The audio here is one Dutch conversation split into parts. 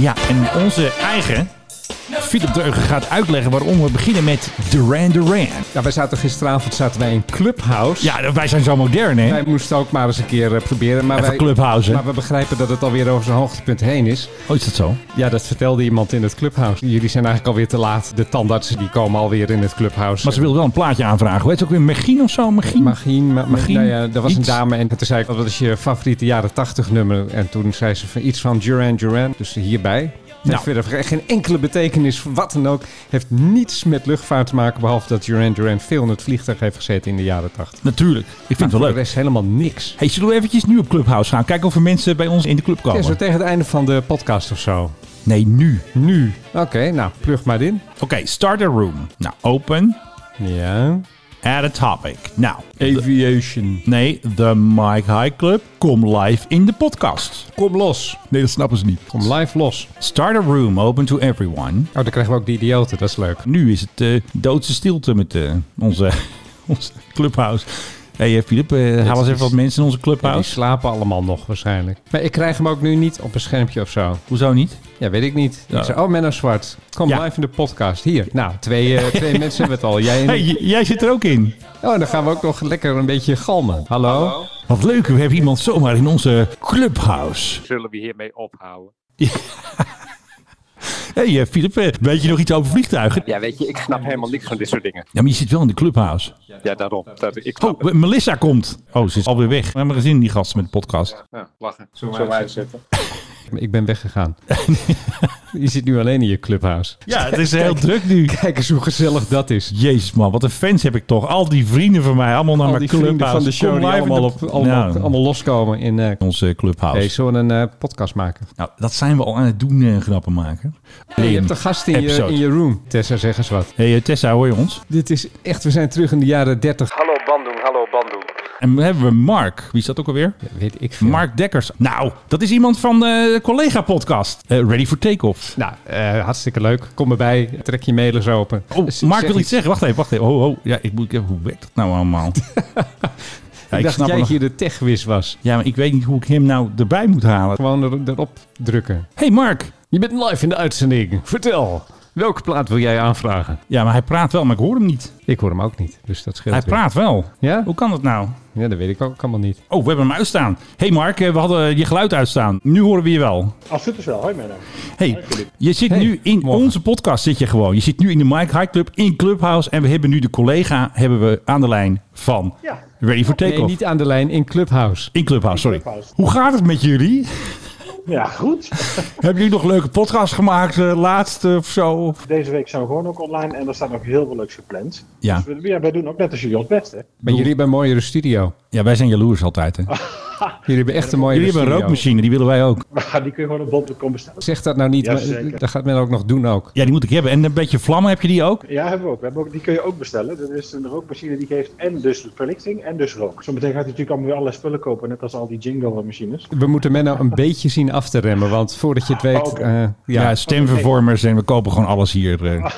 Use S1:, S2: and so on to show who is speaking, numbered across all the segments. S1: Ja, en onze eigen Philip Dreugen gaat uitleggen waarom we beginnen met Duran Duran.
S2: Ja, wij zaten gisteravond zaten wij in Clubhouse.
S1: Ja, wij zijn zo modern, hè?
S2: Wij moesten ook maar eens een keer eh, proberen. Maar
S1: Even
S2: wij,
S1: Clubhouse, hè?
S2: maar we begrijpen dat het alweer over zijn hoogtepunt heen is.
S1: Oh, is dat zo?
S2: Ja, dat vertelde iemand in het Clubhouse. Jullie zijn eigenlijk alweer te laat. De tandartsen die komen alweer in het Clubhouse.
S1: Maar ze wil wel een plaatje aanvragen. Hoe heet het ook weer? Machine of zo? Machine?
S2: Magien, ma-
S1: Magien,
S2: nou ja, er was
S1: iets.
S2: een dame en toen zei ik, "Oh, wat is je favoriete jaren 80 nummer? En toen zei ze van iets van Duran Duran, dus hierbij. Het
S1: Nou.
S2: Heeft verder geen enkele betekenis, wat dan ook. Heeft niets met luchtvaart te maken, behalve dat Duran Duran veel in het vliegtuig heeft gezeten in de jaren 80.
S1: Natuurlijk. Ik vind het wel
S2: De
S1: leuk.
S2: rest helemaal niks.
S1: Hey, zullen we eventjes nu op Clubhouse gaan? Kijken of er mensen bij ons in de club
S2: Ja, zo
S1: komen.
S2: tegen het einde van de podcast of zo.
S1: Nee, nu.
S2: Nu. Oké, nou, plug maar in.
S1: Oké, start a room. Nou, open.
S2: Ja.
S1: Add a topic. Nou, de-
S2: Aviation.
S1: nee, de Mike High Club. Kom live in de podcast.
S2: Kom los.
S1: Nee, dat snappen ze niet.
S2: Kom live los.
S1: Start a room open to everyone.
S2: Oh, dan krijgen we ook die idioten, dat is leuk.
S1: Nu is het eh doodse stilte met eh, onze, onze clubhouse. Hé hey, eh, Filip, eh, haal eens even wat mensen in onze
S2: Ja, die
S1: clubhouse.
S2: slapen allemaal nog waarschijnlijk. Maar ik krijg hem ook nu niet op een schermpje of zo.
S1: Hoezo niet?
S2: Ja, weet ik niet.
S1: Ja.
S2: Ik zei, oh Menno Zwart, kom
S1: Ja.
S2: live in de podcast. Hier, nou, twee, eh, twee mensen hebben het al. Jij en
S1: Hey,
S2: ik.
S1: j- jij zit er ook in.
S2: Oh, dan gaan we ook nog lekker een beetje galmen. Hallo?
S1: Wat leuk, we hebben iemand zomaar in onze clubhouse.
S3: zullen we hiermee ophouden.
S1: Hé hey, eh, Filip, eh, weet je nog iets over vliegtuigen?
S3: Ja, weet je, ik snap helemaal niks van dit soort dingen.
S1: Ja, maar je zit wel in de clubhouse.
S3: Ja, er daarom. Dat, ik snap
S1: Oh,
S3: het.
S1: we- Melissa komt. Oh, ze is alweer weg. We hebben gezien die gasten met de podcast.
S3: Ja, lachen. Zullen we uitzetten?
S2: Ik ben weggegaan. je zit nu alleen in je clubhuis.
S1: Ja, het is heel druk nu.
S2: Kijk eens hoe gezellig dat is.
S1: Jezus man, wat een fans heb ik toch. Al die vrienden van mij, allemaal naar
S2: Al
S1: mijn
S2: die vrienden
S1: clubhouse.
S2: van de show
S1: Kom
S2: die
S1: live
S2: allemaal,
S1: in
S2: op,
S1: de-
S2: allemaal,
S1: Nou,
S2: allemaal loskomen in... eh
S1: onze clubhouse.
S2: Hey, zullen we een eh, podcast maken?
S1: Nou, dat zijn we al aan het doen, eh, grappen maken.
S2: Hey, je hebt een gast in je,
S1: episode.
S2: in je room. Tessa, zeg eens wat.
S1: hey, eh, Tessa, hoor je ons?
S2: Dit is echt, we zijn terug in de jaren 30.
S4: Hallo Bandung, hallo Bandung.
S1: En dan hebben we Mark. Wie is dat ook alweer?
S2: Weet ik veel.
S1: Mark Dekkers. Nou, dat is iemand van eh, de collega-podcast. Eh, Ready for Takeoff.
S2: Nou, eh, hartstikke leuk. Kom erbij, trek je mailers open.
S1: Oh,
S2: Z-
S1: Mark wil
S2: zeg iets.
S1: iets zeggen. Wacht even, wacht even. Oh, oh. Ja, ik moet even... Hoe werkt dat nou allemaal? ja,
S2: Ik,
S1: ik
S2: dacht
S1: snap het
S2: dat jij
S1: nog.
S2: hier de techwis was.
S1: Ja, maar ik weet niet hoe ik hem nou erbij moet halen.
S2: Gewoon er- erop drukken.
S1: Hey Mark.
S2: Je bent live in de uitzending. Vertel, welke plaat wil jij aanvragen?
S1: Ja, maar hij praat wel, maar ik hoor hem niet.
S2: Ik hoor hem ook niet, dus dat scheelt
S1: Hij
S2: weer.
S1: praat wel.
S2: Ja?
S1: Hoe kan dat nou?
S2: ja, dat weet Oh. ik ook allemaal niet.
S1: Oh, we hebben hem uitstaan. Hey Mark, eh, we hadden je geluid uitstaan. Nu horen we je wel.
S5: Als het is wel, hoi Menno.
S1: Hey, je zit nu in
S2: morgen.
S1: onze podcast zit je gewoon. Je zit nu in de Mike High Club in Clubhouse en we hebben nu de collega hebben we aan de lijn van
S5: Ja.
S1: Ready for Takeoff.
S2: Nee, niet aan de lijn in Clubhouse.
S1: In Clubhouse, sorry.
S5: Clubhouse.
S1: Hoe gaat het met jullie?
S5: Ja, goed.
S1: hebben jullie nog leuke podcasts gemaakt eh, laatst eh, of zo?
S5: Deze week zijn we gewoon ook online en er staat nog heel veel leuks gepland.
S1: Ja.
S5: Dus we, ja, wij doen ook net als jullie ons best, hè.
S2: Maar jullie hebben een mooiere studio.
S1: Ja, wij zijn jaloers altijd. Hè.
S2: Jullie hebben echt een mooiere
S1: Jullie hebben een
S2: studio.
S1: rookmachine, die willen wij ook.
S5: Maar die kun je gewoon op bol.com bestellen.
S2: Zeg dat nou niet,
S5: Ja,
S2: maar
S5: zeker.
S2: dat gaat men ook nog doen ook.
S1: Ja, die moet ik hebben. En een beetje vlammen, heb je die ook?
S5: Ja, hebben we ook. We hebben ook. Die kun je ook bestellen. Dat is een rookmachine die geeft en dus verlichting en dus rook. Zometeen gaat hij natuurlijk allemaal weer allerlei spullen kopen, net als al die jingle machines.
S2: We moeten men nou een beetje zien af te remmen, want voordat je het weet...
S5: Oké.
S2: eh,
S1: Ja,
S2: ja,
S1: stemvervormers en we kopen gewoon alles hier. eh.
S5: Ah.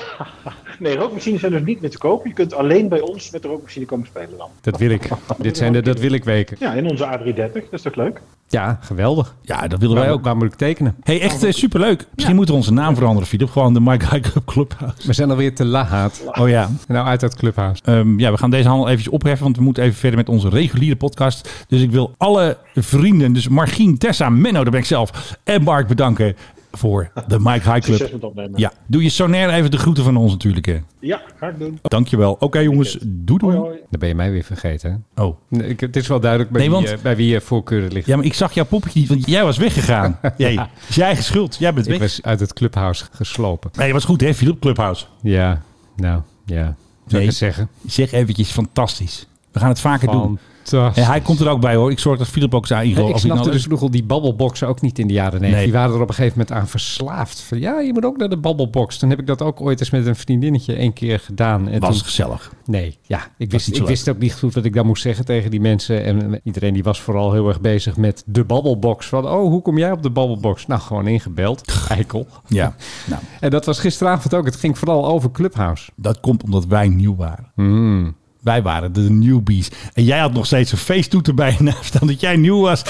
S5: Nee, rookmachines zijn dus niet meer te koop. Je kunt alleen bij ons met de rookmachine komen spelen dan.
S2: dat wil ik. Dit zijn de dat wil ik weken.
S5: Ja, in onze A330. Dat is toch leuk?
S2: Ja, geweldig.
S1: Ja, dat willen wij
S2: Waar,
S1: ook.
S2: waar moet ik tekenen?
S1: hey, echt eh, superleuk. Misschien moeten we onze naam veranderen, Filip. Gewoon de Mike High Club Clubhouse.
S2: We zijn alweer te laat.
S1: Oh ja.
S2: Nou, uit dat clubhuis.
S1: Ehm, ja, we gaan deze handel eventjes opheffen, want we moeten even verder met onze reguliere podcast. Dus ik wil alle vrienden, dus Margien, Tessa, Menno, daar ben ik zelf, en Mark bedanken voor de Mike High
S5: Succes
S1: Club.
S5: met opnemen.
S1: Ja, doe je Sonair even de groeten van ons natuurlijk. Hè.
S5: Ja, ga ik doen.
S1: Dankjewel. Oké jongens, doei
S5: Hoi,
S1: doei.
S5: hoi.
S2: Dan ben je mij weer vergeten. hè?
S1: Oh.
S2: Nee, ik, het is wel duidelijk bij,
S1: Nee,
S2: wie,
S1: want-
S2: eh, bij wie je voorkeuren ligt.
S1: Ja, maar ik zag jouw poppetje niet, want jij was weggegaan. Jij, is jij geschuld. Jij bent
S2: ik
S1: weg.
S2: was uit het clubhuis geslopen.
S1: Nee, was goed hè, Philip Clubhouse.
S2: Ja, nou, ja. Zou
S1: Nee.
S2: ik het zeggen?
S1: Zeg eventjes fantastisch. We gaan het vaker doen.
S2: Fantastisch.
S1: En hij komt er ook bij hoor. Ik zorg dat Philip ook zijn
S2: Nee,
S1: ingo.
S2: ik
S1: als hij nou
S2: snapte
S1: leuk-
S2: dus nogal die babbelboxen ook niet in de jaren 90.
S1: Nee.
S2: Die waren er op een gegeven moment aan verslaafd. Van, ja, je moet ook naar de babbelbox. Toen heb ik dat ook ooit eens met een vriendinnetje één keer gedaan. En
S1: was
S2: toen-
S1: gezellig.
S2: nee, ja, ik, wist,
S1: niet zo
S2: ik wist ook niet goed wat ik dan moest zeggen tegen die mensen. En iedereen die was vooral heel erg bezig met de babbelbox. Van, oh, hoe kom jij op de babbelbox? Nou, gewoon ingebeld. Eikel.
S1: Ja. Nou,
S2: En dat was gisteravond ook. Het ging vooral over Clubhouse.
S1: dat komt omdat wij nieuw waren. Hmm. Wij waren de newbies. En jij had nog steeds een feesttoeter bij je naam staan dat jij nieuw was.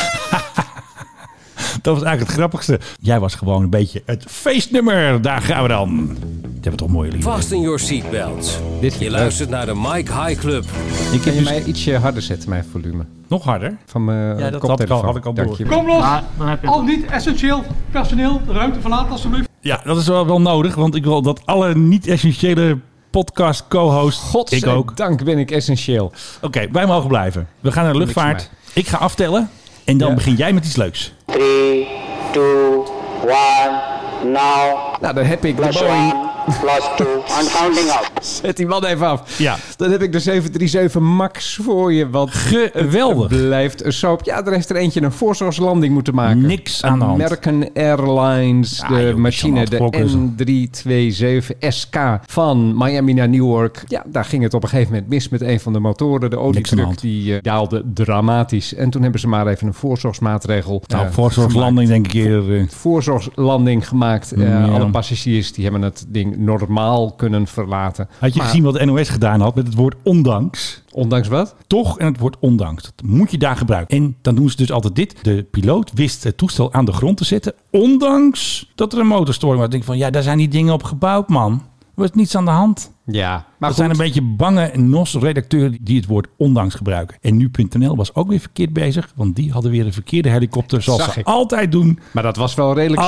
S1: Dat was eigenlijk het grappigste. Jij was gewoon een beetje het feestnummer. Daar gaan we dan. Dat hebben we toch mooie liederen.
S4: Fasten your seatbelts.
S2: Dit
S4: Je
S2: leuk.
S4: luistert naar de Mike High Club.
S1: Ik
S2: Kun
S1: heb
S2: je
S1: dus
S2: mij ietsje harder zetten, mijn volume?
S1: nog harder.
S2: Van mijn eh,
S1: Ja, dat had ik
S2: koptelefoon.
S1: al- had ik al
S2: Dank
S1: door.
S2: je wel.
S6: Kom los! Al niet essentieel personeel de ruimte verlaat alsjeblieft.
S1: Ja, dat is wel, wel nodig. Want ik wil dat alle niet-essentiële podcast co-hosts... God, Ik ook.
S2: Dank ben ik essentieel.
S1: Oké, wij mogen blijven. We gaan naar de luchtvaart.
S2: voor
S1: Ik ga aftellen. En dan
S2: Ja.
S1: begin jij met iets leuks.
S7: Three, two, one, now.
S2: Nou, dan heb ik de
S7: Plus
S2: Boeing.
S7: one, plus two. I'm counting up.
S2: Zet die man even af.
S1: Ja.
S2: Dan heb ik de 737 Max voor je. Wat
S1: Geweldig.
S2: blijft een soap. Ja, er heeft er eentje een voorzorgslanding moeten maken.
S1: Niks aan de hand.
S2: American Airlines,
S1: Ja,
S2: de
S1: joh, die kan
S2: machine,
S1: altijd
S2: de
S1: blokken.
S2: N327SK van Miami naar Newark. Ja, daar ging het op een gegeven moment mis met een van de motoren. De
S1: Niks aan de
S2: oliedruk
S1: hand.
S2: die eh, daalde dramatisch. En toen hebben ze maar even een voorzorgsmaatregel
S1: Nou,
S2: eh,
S1: voorzorgslanding denk ik eerder. eh,
S2: voorzorgslanding gemaakt. Eh,
S1: Mm, Ja.
S2: Alle passagiers die hebben het ding normaal kunnen verlaten.
S1: Had je
S2: Maar-
S1: gezien wat de NOS gedaan had met het woord ondanks?
S2: Ondanks wat?
S1: Toch en het woord ondanks. Dat moet je daar gebruiken. En dan doen ze dus altijd dit. De piloot wist het toestel aan de grond te zetten. Ondanks dat er een motorstoring was. Ik denk van ja, daar zijn die dingen op gebouwd, man. Er was niets aan de hand.
S2: Ja. Maar
S1: Dat zijn een beetje bange NOS-redacteuren die het woord ondanks gebruiken. En nu.nl was ook weer verkeerd bezig. Want die hadden weer een verkeerde helikopter. Zoals
S2: Zag
S1: ze
S2: ik.
S1: altijd doen.
S2: Maar dat was wel redelijk gênant.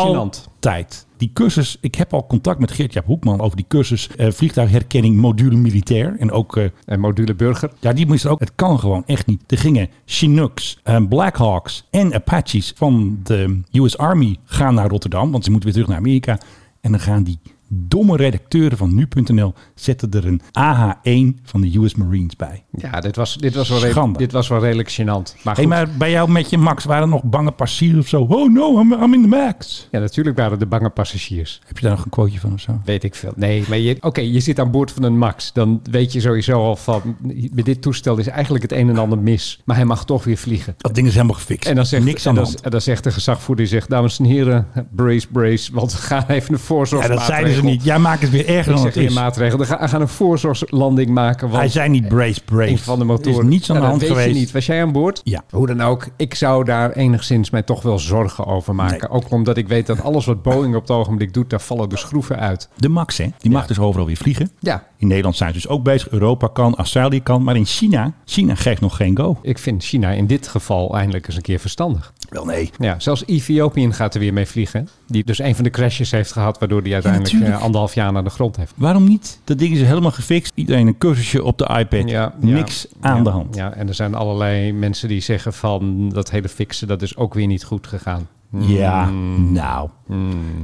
S1: Altijd. Die cursus, ik heb al contact met Geert-Jaap Hoekman over die cursus eh, vliegtuigherkenning module militair. En ook eh,
S2: En module burger.
S1: Ja, die moesten ook. Het kan gewoon echt niet. Er gingen Chinooks, eh, Blackhawks en Apaches van de US Army gaan naar Rotterdam. Want ze moeten weer terug naar Amerika. En dan gaan die domme redacteuren van nu.nl zetten er een AH-1 van de US Marines bij.
S2: Ja, dit was, dit was, wel, redelijk,
S1: Schande.
S2: dit was wel redelijk gênant. Maar,
S1: Hé,
S2: goed,
S1: maar bij jou met je Max waren er nog bange passiers of zo. Oh no, I'm, I'm in the max.
S2: Ja, natuurlijk waren de bange passagiers.
S1: Heb je daar nog een quoteje van of zo?
S2: Weet ik veel. Nee, maar je- oké, je zit aan boord van een MAX. Dan weet je sowieso al van... Met dit toestel is eigenlijk het een en ander mis. Maar hij mag toch weer vliegen.
S1: Dat ding is helemaal gefixt.
S2: En dan zegt,
S1: Niks
S2: en
S1: aan de
S2: dan,
S1: hand.
S2: en dan zegt de gezagvoerder, die zegt, dames en heren, brace, brace, want we gaan even een
S1: Ja,
S2: voorzorgsmaatregel.
S1: dat zeiden ze niet. Jij maakt het weer erger
S2: Ik
S1: dan
S2: zeg
S1: het
S2: geen
S1: is.
S2: maatregel. We gaan, we gaan een voorzorgslanding maken. Want
S1: Hij zei niet brace, brace.
S2: een van de motoren.
S1: Er is niets aan
S2: Ja,
S1: de hand
S2: dat
S1: geweest.
S2: Weet je niet. Was jij aan boord?
S1: Ja.
S2: Hoe dan ook, ik zou daar enigszins mij toch wel zorgen over maken. Ook omdat ik weet dat alles wat Boeing op het ogenblik doet, daar vallen de schroeven uit.
S1: De Max, hè? Die mag dus overal weer vliegen.
S2: Ja.
S1: In Nederland zijn ze dus ook bezig. Europa kan, Australië kan. Maar in China, China geeft nog geen go.
S2: Ik vind China in dit geval eindelijk eens een keer verstandig.
S1: Wel nee.
S2: Ja, zelfs Ethiopië gaat er weer mee vliegen. Die dus een van de crashes heeft gehad, waardoor die uiteindelijk eh,
S1: natuurlijk.
S2: anderhalf jaar naar de grond heeft.
S1: Waarom niet? Dat ding is dus helemaal gefixt. Iedereen een cursusje op de iPad. Niks aan
S2: ja,
S1: de hand.
S2: Ja, en er zijn allerlei mensen die zeggen van dat hele fixen, dat is ook weer niet goed gegaan.
S1: Ja, nou.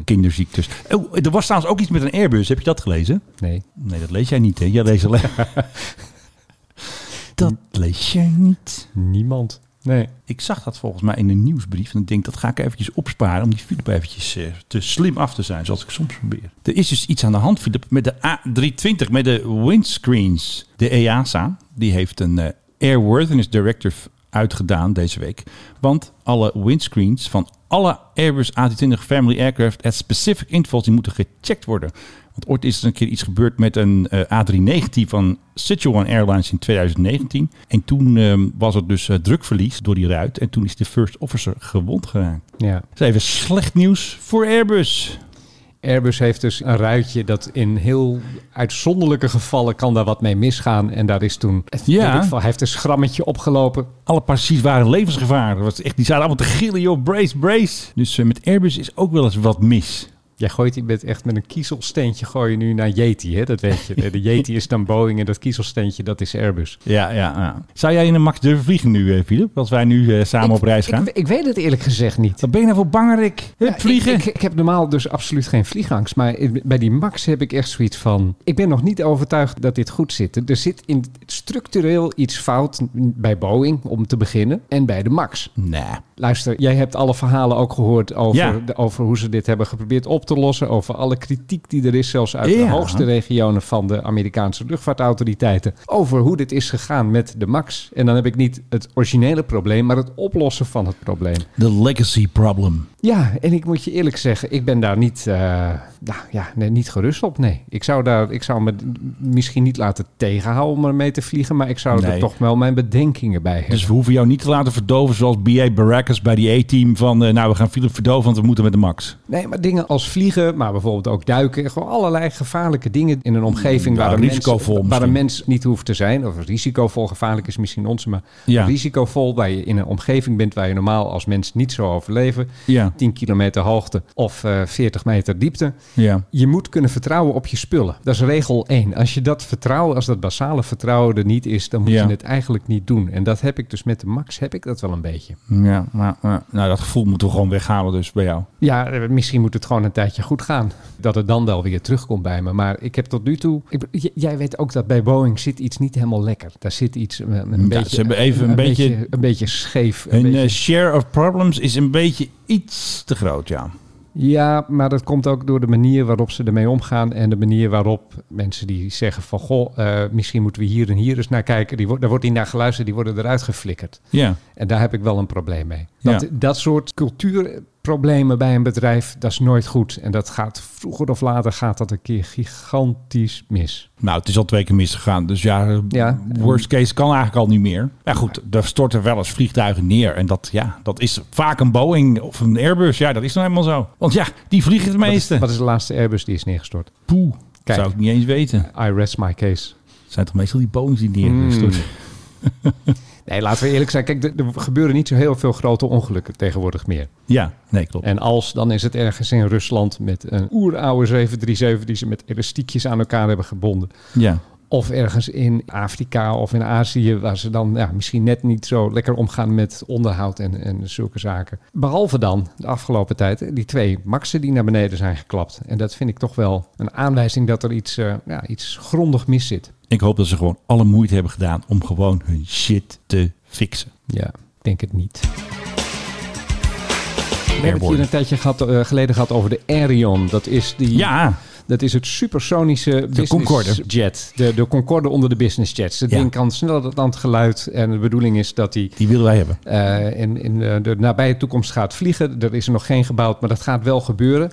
S1: Kinderziektes. Oh, er was trouwens ook iets met een Airbus. Heb je dat gelezen?
S2: Nee.
S1: Nee, dat lees jij niet, hè? Jij leest alleen... dat lees jij niet.
S2: Niemand. Nee.
S1: Ik zag dat volgens mij in een nieuwsbrief. En ik denk, dat ga ik eventjes opsparen. Om die Philip eventjes eh, te slim af te zijn. Zoals ik soms probeer. Er is dus iets aan de hand, Philip. Met de A320. Met de windscreens. De E EASA. Die heeft een eh, Airworthiness Directive uitgedaan deze week. Want alle windscreens van alle Airbus A320 family aircraft... at specific intervals, die moeten gecheckt worden. Want ooit is er een keer iets gebeurd met een eh, A319 van Sichuan Airlines in 2019. En toen ehm, was er dus eh, drukverlies door die ruit. En toen is de first officer gewond geraakt.
S2: Ja.
S1: Dat is even slecht nieuws voor Airbus.
S2: Airbus heeft dus een ruitje dat in heel uitzonderlijke gevallen kan daar wat mee misgaan. En daar is toen,
S1: Ja.
S2: weet ik veel, hij heeft een schrammetje opgelopen.
S1: Alle passagiers waren levensgevaar. Dat Was echt, die zaten allemaal te gillen, joh. Brace, brace. Dus eh, met Airbus is ook wel eens wat mis.
S2: Jij gooit die met echt met een kiezelsteentje gooi je nu naar Yeti, hè? dat weet je. De- De Yeti is dan Boeing en dat kiezelsteentje dat is Airbus.
S1: Ja, ja, ja. Zou jij in een MAX durven vliegen nu, eh, Philip? Als wij nu eh, samen op reis gaan?
S2: Ik, ik weet het eerlijk gezegd niet.
S1: Wat ben je nou voor bangerik? Hup,
S2: Ja,
S1: vliegen.
S2: Ik, ik, ik heb normaal dus absoluut geen vliegangst. Maar in- bij die Max heb ik echt zoiets van... Ik ben nog niet overtuigd dat dit goed zit. Er zit in structureel iets fout bij Boeing, om te beginnen. En bij de Max.
S1: Nee.
S2: Luister, jij hebt alle verhalen ook gehoord over,
S1: Ja.
S2: de- over hoe ze dit hebben geprobeerd op op te lossen over alle kritiek die er is, zelfs uit de
S1: Ja.
S2: hoogste regionen van de Amerikaanse luchtvaartautoriteiten, over hoe dit is gegaan met de MAX. En dan heb ik niet het originele probleem, maar het oplossen van het probleem.
S1: The legacy problem.
S2: Ja, en ik moet je eerlijk zeggen, ik ben daar niet, eh, nou, ja, nee, niet gerust op. Nee, ik zou, daar, ik zou me d- misschien niet laten tegenhouden om ermee te vliegen, maar ik zou er
S1: Nee.
S2: toch wel mijn bedenkingen bij hebben.
S1: Dus we hoeven jou niet te laten verdoven zoals B.A. Baracus bij die A-team van... eh, nou, we gaan Philip verdoven, want we moeten met de max.
S2: Nee, maar dingen als vliegen, maar bijvoorbeeld ook duiken. Gewoon allerlei gevaarlijke dingen in een omgeving
S1: Ja,
S2: waar, een
S1: Mm, risicovol
S2: mens, waar
S1: misschien.
S2: een mens niet hoeft te zijn. Of risicovol, gevaarlijk is misschien onze, maar
S1: Ja.
S2: risicovol waar je in een omgeving bent waar je normaal als mens niet zou overleven.
S1: Ja.
S2: 10 kilometer hoogte of eh 40 meter diepte.
S1: Ja.
S2: Je moet kunnen vertrouwen op je spullen. Dat is regel 1. Als je dat vertrouwen, als dat basale vertrouwen er niet is, dan moet
S1: Ja.
S2: je het eigenlijk niet doen. En dat heb ik dus met de Max, heb ik dat wel een beetje.
S1: Ja, maar, maar- nou, dat gevoel moeten we gewoon weghalen dus bij jou.
S2: Ja, eh, misschien moet het gewoon een tijdje goed gaan. Dat het dan wel weer terugkomt bij me. Maar ik heb tot nu toe. ik be- j- jij weet ook dat bij Boeing zit iets niet helemaal lekker. Daar zit iets eh, een beetje.
S1: ze hebben even een beetje-
S2: Een beetje scheef. Een
S1: Hun
S2: beetje-
S1: eh, share of problems is een beetje iets te groot, ja.
S2: Ja, maar dat komt ook door de manier waarop ze ermee omgaan. En de manier waarop mensen die zeggen van... Goh, eh, misschien moeten we hier en hier eens naar kijken. Die, wo- daar wordt niet naar geluisterd, die worden eruit geflikkerd.
S1: Ja.
S2: En daar heb ik wel een probleem mee. Dat,
S1: Ja.
S2: dat soort cultuurproblemen bij een bedrijf, dat is nooit goed. En dat gaat vroeger of later gaat dat een keer gigantisch mis.
S1: Nou, het is al twee keer misgegaan. Dus ja, eh,
S2: Ja.
S1: worst case kan eigenlijk al niet meer. Maar goed, daar storten wel eens vliegtuigen neer. En dat, ja, dat is vaak een Boeing of een Airbus. Ja, dat is nou helemaal zo. Want ja, die vliegen het meeste.
S2: Wat is de laatste Airbus die is neergestort?
S1: Poeh,
S2: Kijk.
S1: zou ik niet eens weten.
S2: I rest my case.
S1: Het zijn toch meestal die Boeings die
S2: Hmm.
S1: neergestort
S2: Nee, laten we eerlijk zijn. Kijk, er, er gebeuren niet zo heel veel grote ongelukken tegenwoordig meer.
S1: Ja, nee, klopt.
S2: En als, dan is het ergens in Rusland met een oeroude 737 die ze met elastiekjes aan elkaar hebben gebonden.
S1: Ja.
S2: Of ergens in Afrika of in Azië, waar ze dan ja, misschien net niet zo lekker omgaan met onderhoud en, en zulke zaken. Behalve dan de afgelopen tijd die twee maxen die naar beneden zijn geklapt. En dat vind ik toch wel een aanwijzing dat er iets, eh, ja, iets grondig mis zit.
S1: Ik hoop dat ze gewoon alle moeite hebben gedaan om gewoon hun shit te fixen.
S2: Ja, ik denk het niet. We hebben het
S1: Airborne.
S2: hier een tijdje gehad, eh, geleden gehad over de Aerion. Dat is die
S1: Ja,
S2: Dat is het supersonische business
S1: Concorde.
S2: jet. De, de Concorde onder de business jets. Het
S1: Ja.
S2: ding kan sneller dan het geluid. En de bedoeling is dat die
S1: die willen wij hebben.
S2: eh, in, in eh, de nabije toekomst gaat vliegen. Er is er nog geen gebouwd, maar dat gaat wel gebeuren.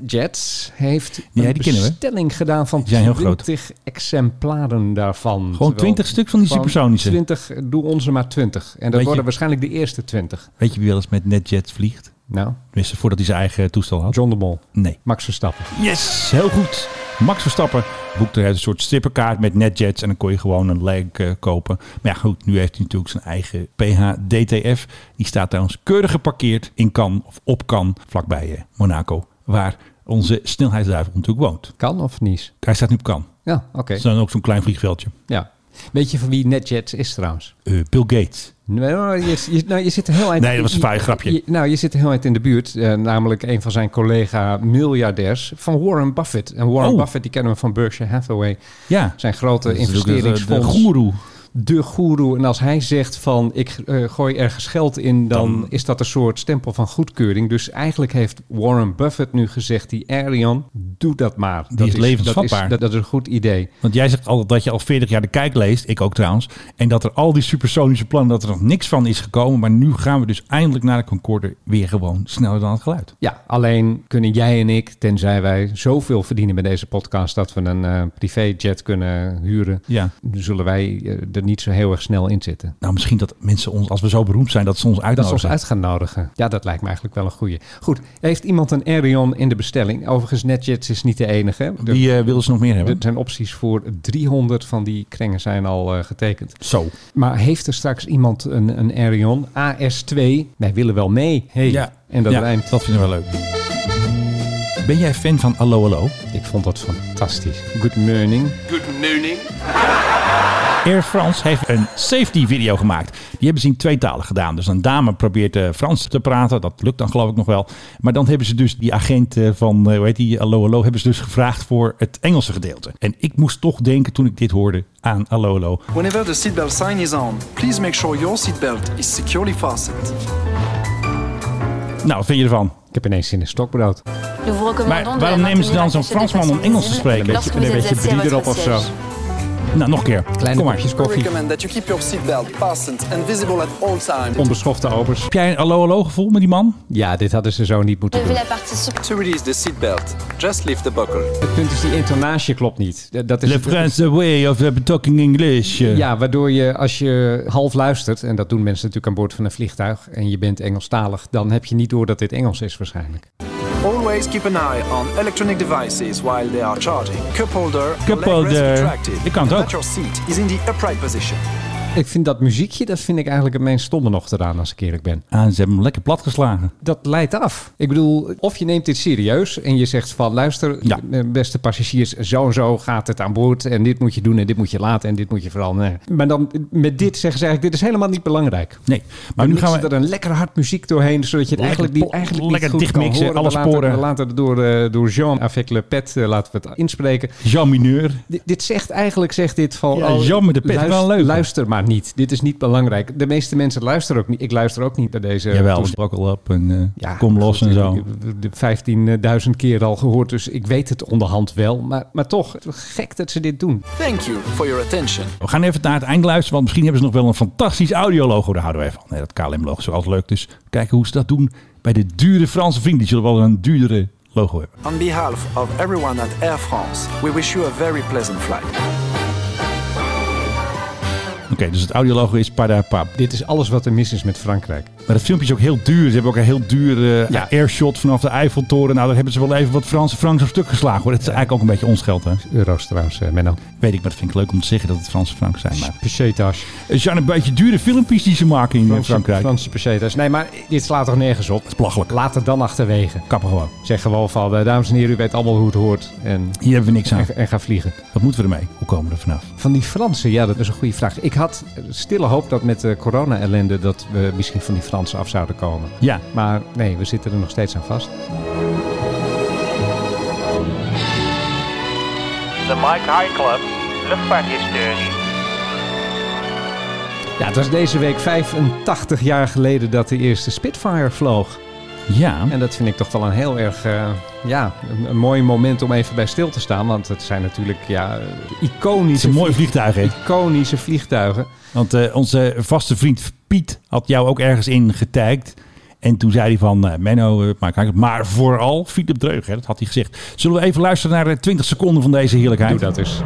S2: NetJets heeft
S1: Ja,
S2: een
S1: die kennen we.
S2: bestelling gedaan van
S1: Die zijn heel groot.
S2: 20 exemplaren daarvan.
S1: Gewoon
S2: Terwijl
S1: 20 stuk van die
S2: gewoon
S1: supersonische.
S2: 20, doe onze maar 20. En dat
S1: je-
S2: worden waarschijnlijk de eerste 20.
S1: Weet je wie wel eens met NetJet vliegt?
S2: Nou,
S1: Tenminste, voordat hij zijn eigen toestel had.
S2: John de Mol,
S1: Nee.
S2: Max Verstappen.
S1: Yes, heel goed. Max Verstappen boekte een soort strippenkaart met NetJets. En dan kon je gewoon een leg eh, kopen. Maar ja, goed, nu heeft hij natuurlijk zijn eigen PH-DTF. Die staat trouwens keurig geparkeerd in Cannes of op Cannes, vlakbij eh, Monaco. Waar onze snelheidsduivel natuurlijk woont.
S2: Kan of niet?
S1: Hij staat nu op Cannes.
S2: Ja, oké.
S1: Het is dan ook zo'n klein vliegveldje.
S2: Ja. Weet je van wie NetJets is trouwens?
S1: Eh, Bill Gates.
S2: Nee, maar je, je- nou, je zit de heel eind...
S1: Nee, dat was een fijn grapje.
S2: je- nou, je zit de heel eind in de buurt. eh, namelijk een van zijn collega-miljardairs van Warren Buffett. En Warren
S1: Oh.
S2: Buffett, die kennen we van Berkshire Hathaway.
S1: Ja.
S2: Zijn grote
S1: Dus Dat is natuurlijk de-
S2: investeringsfonds.
S1: De goeroe.
S2: De goeroe. En als hij zegt van, ik eh, gooi ergens geld in... Dan, is dat een soort stempel van goedkeuring. Dus eigenlijk heeft Warren Buffett nu gezegd... die Arion, doe dat maar. dat
S1: is
S2: Dat
S1: levensvatbaar.
S2: is, dat, dat is een goed idee.
S1: Want jij zegt altijd dat je al 40 jaar de kijk leest. Ik ook trouwens. En dat er al die supersonische plannen, dat er nog niks van is gekomen. Maar nu gaan we dus eindelijk naar de Concorde weer gewoon sneller dan het geluid.
S2: Ja, alleen kunnen jij en ik, tenzij wij zoveel verdienen met deze podcast dat we een eh, privéjet kunnen huren,
S1: Ja.
S2: zullen wij eh, er niet zo heel erg snel in zitten. Nou,
S1: Nou, misschien dat mensen ons, als we zo beroemd zijn, dat ze ons
S2: Dat ze
S1: uitnodigen.
S2: ons uit gaan nodigen. Ja, dat lijkt me eigenlijk wel een goeie. Goed, heeft iemand een Aerion in de bestelling? Overigens, NetJets is niet de enige. Er,
S1: Wie eh, willen ze nog meer
S2: er
S1: hebben?
S2: zijn opties voor 300 van die kringen zijn al eh, getekend.
S1: Zo.
S2: Maar heeft er straks iemand een, een Aerion AS2? Wij willen wel mee. Hey. En dat
S1: Ja,
S2: rijmt.
S1: Dat vinden we leuk. Ben jij fan van Allo Allo?
S2: Ik vond dat fantastisch. Good morning.
S1: Air France heeft een safety video gemaakt. Die hebben ze in tweetalig gedaan. Dus een dame probeert eh, Frans te praten. Dat lukt dan geloof ik nog wel. Maar dan hebben ze dus die agent eh, van, eh, hoe heet die, Allo Allo, hebben ze dus gevraagd voor het Engelse gedeelte. En ik moest toch denken toen ik dit hoorde aan Allo Allo.
S8: Whenever the seatbelt sign is on, please make sure your seatbelt is securely fastened.
S1: Nou, wat vind je ervan?
S2: Ik heb ineens zin in stokbrood.
S1: Maar waarom nemen ze dan zo'n Fransman om Engels te spreken?
S9: Een beetje, een beetje brie erop of zo.
S1: Nou, nog een keer.
S2: Kleine
S1: Kom maar.
S2: kopjes koffie.
S8: recommend that you keep your seatbelt fastened and visible at all times.
S2: Onbeschofte obers.
S1: Heb jij een hallo-hallo gevoel met die man?
S2: Ja, dit hadden ze zo niet moeten doen.
S8: To release the seatbelt, just lift the buckle.
S2: Het punt is, die intonatie klopt niet. Eh, Dat is
S1: Le
S2: het-
S1: France way of eh, talking English. eh.
S2: Ja, waardoor je als je half luistert, en dat doen mensen natuurlijk aan boord van een vliegtuig, en je bent Engelstalig, dan heb je niet door dat dit Engels is waarschijnlijk.
S8: Always keep an eye on electronic devices while they are charging. Cup holder,
S1: Cup
S8: leg rest
S1: holder.
S8: retracted,
S1: Ik kan het
S8: and
S1: ook.
S8: that your seat is in the upright position.
S2: Ik vind dat muziekje, dat vind ik eigenlijk het meest stomme nog eraan, als ik eerlijk ben.
S1: Ah, ze hebben hem lekker plat geslagen.
S2: Dat leidt af. Ik bedoel, of je neemt dit serieus en je zegt van, luister,
S1: Ja.
S2: eh, beste passagiers, zo en zo gaat het aan boord, en dit moet je doen, en dit moet je laten, en dit moet je vooral... nee. Maar dan eh, met dit zeggen ze eigenlijk, dit is helemaal niet belangrijk.
S1: Nee, maar
S2: Maar
S1: nu gaan we...
S2: er een lekker hard muziek doorheen, zodat je het
S1: Lekker
S2: eigenlijk niet,
S1: pop-
S2: eigenlijk niet
S1: lekker
S2: goed kan
S1: dichtmixen,
S2: horen.
S1: alle
S2: we laten-
S1: sporen.
S2: we laten het door, eh, door Jean avec le pet, eh, laten we het inspreken.
S1: Jean Mineur.
S2: Dit, dit zegt eigenlijk, zegt dit van...
S1: Ja, Jean met de pet,
S2: luister,
S1: wel leuk.
S2: Luister maar niet, dit is niet belangrijk. De meeste mensen luisteren ook niet. Ik luister ook niet naar deze
S1: Jawel,
S2: toespraak.
S1: buckle up en eh,
S2: Ja,
S1: kom los
S2: goed,
S1: en
S2: ik-
S1: zo.
S2: ik heb de 15.000 keer al gehoord, dus ik weet het onderhand wel. Maar, maar toch, gek dat ze dit doen.
S8: Thank you for your attention.
S1: We gaan even naar het eind luisteren, want misschien hebben ze nog wel een fantastisch audiologo. Daar houden wij van. Nee, dat KLM-logo is altijd leuk. Dus kijken hoe ze dat doen bij de dure Franse vrienden. Die zullen wel een duurdere logo hebben.
S8: On behalf of everyone at Air France, we wish you a very pleasant flight.
S1: Oké, dus het audiologo is Padapap.
S2: Dit is alles wat er mis is met Frankrijk.
S1: Maar dat filmpje is ook heel duur. Ze hebben ook een heel duur eh,
S2: Ja.
S1: airshot vanaf de Eiffeltoren. Nou, daar hebben ze wel even wat Franse Franks op stuk geslagen. Hoor. Dat is eigenlijk ook een beetje ons geld, hè?
S2: Euro's trouwens, eh, Menno.
S1: Weet ik, maar dat vind ik leuk om te zeggen dat het Franse Franks zijn. Maar
S2: Pesetas.
S1: het zijn een beetje dure filmpjes die ze maken in eh, Frankrijk.
S2: Franse pesetas. Nee, maar dit slaat toch nergens op? Het is
S1: belachelijk.
S2: Laat het dan achterwege.
S1: Kappen gewoon.
S2: Zeg gewoon van, eh, dames en heren, u weet allemaal hoe het hoort. En,
S1: Hier hebben we niks aan.
S2: en, en ga vliegen.
S1: Wat moeten we ermee? Hoe komen we er vanaf?
S2: Van die Fransen, ja, dat is een goede vraag. Ik had eh, stille hoop dat met de corona-ellende... dat we misschien van die Fransen af zouden komen.
S1: Ja,
S2: Maar nee, we zitten er nog steeds aan vast.
S10: De Mike High Club, luchtvaarthistorie.
S2: Ja, het was deze week 85 jaar geleden dat de eerste Spitfire vloog.
S1: ja.
S2: En dat vind ik toch wel een heel erg eh, ja, een, een mooi moment om even bij stil te staan. Want het zijn natuurlijk ja,
S1: Het is een
S2: iconische,
S1: mooi vliegtuig, hè?
S2: iconische vliegtuigen.
S1: Want eh, onze vaste vriend Piet had jou ook ergens in getagd. En toen zei hij van, eh, Menno, eh, maar, kijk, maar vooral Philip Dreug, hè, dat had hij gezegd. Zullen we even luisteren naar eh, 20 seconden van deze heerlijkheid?
S2: Doe dat dus.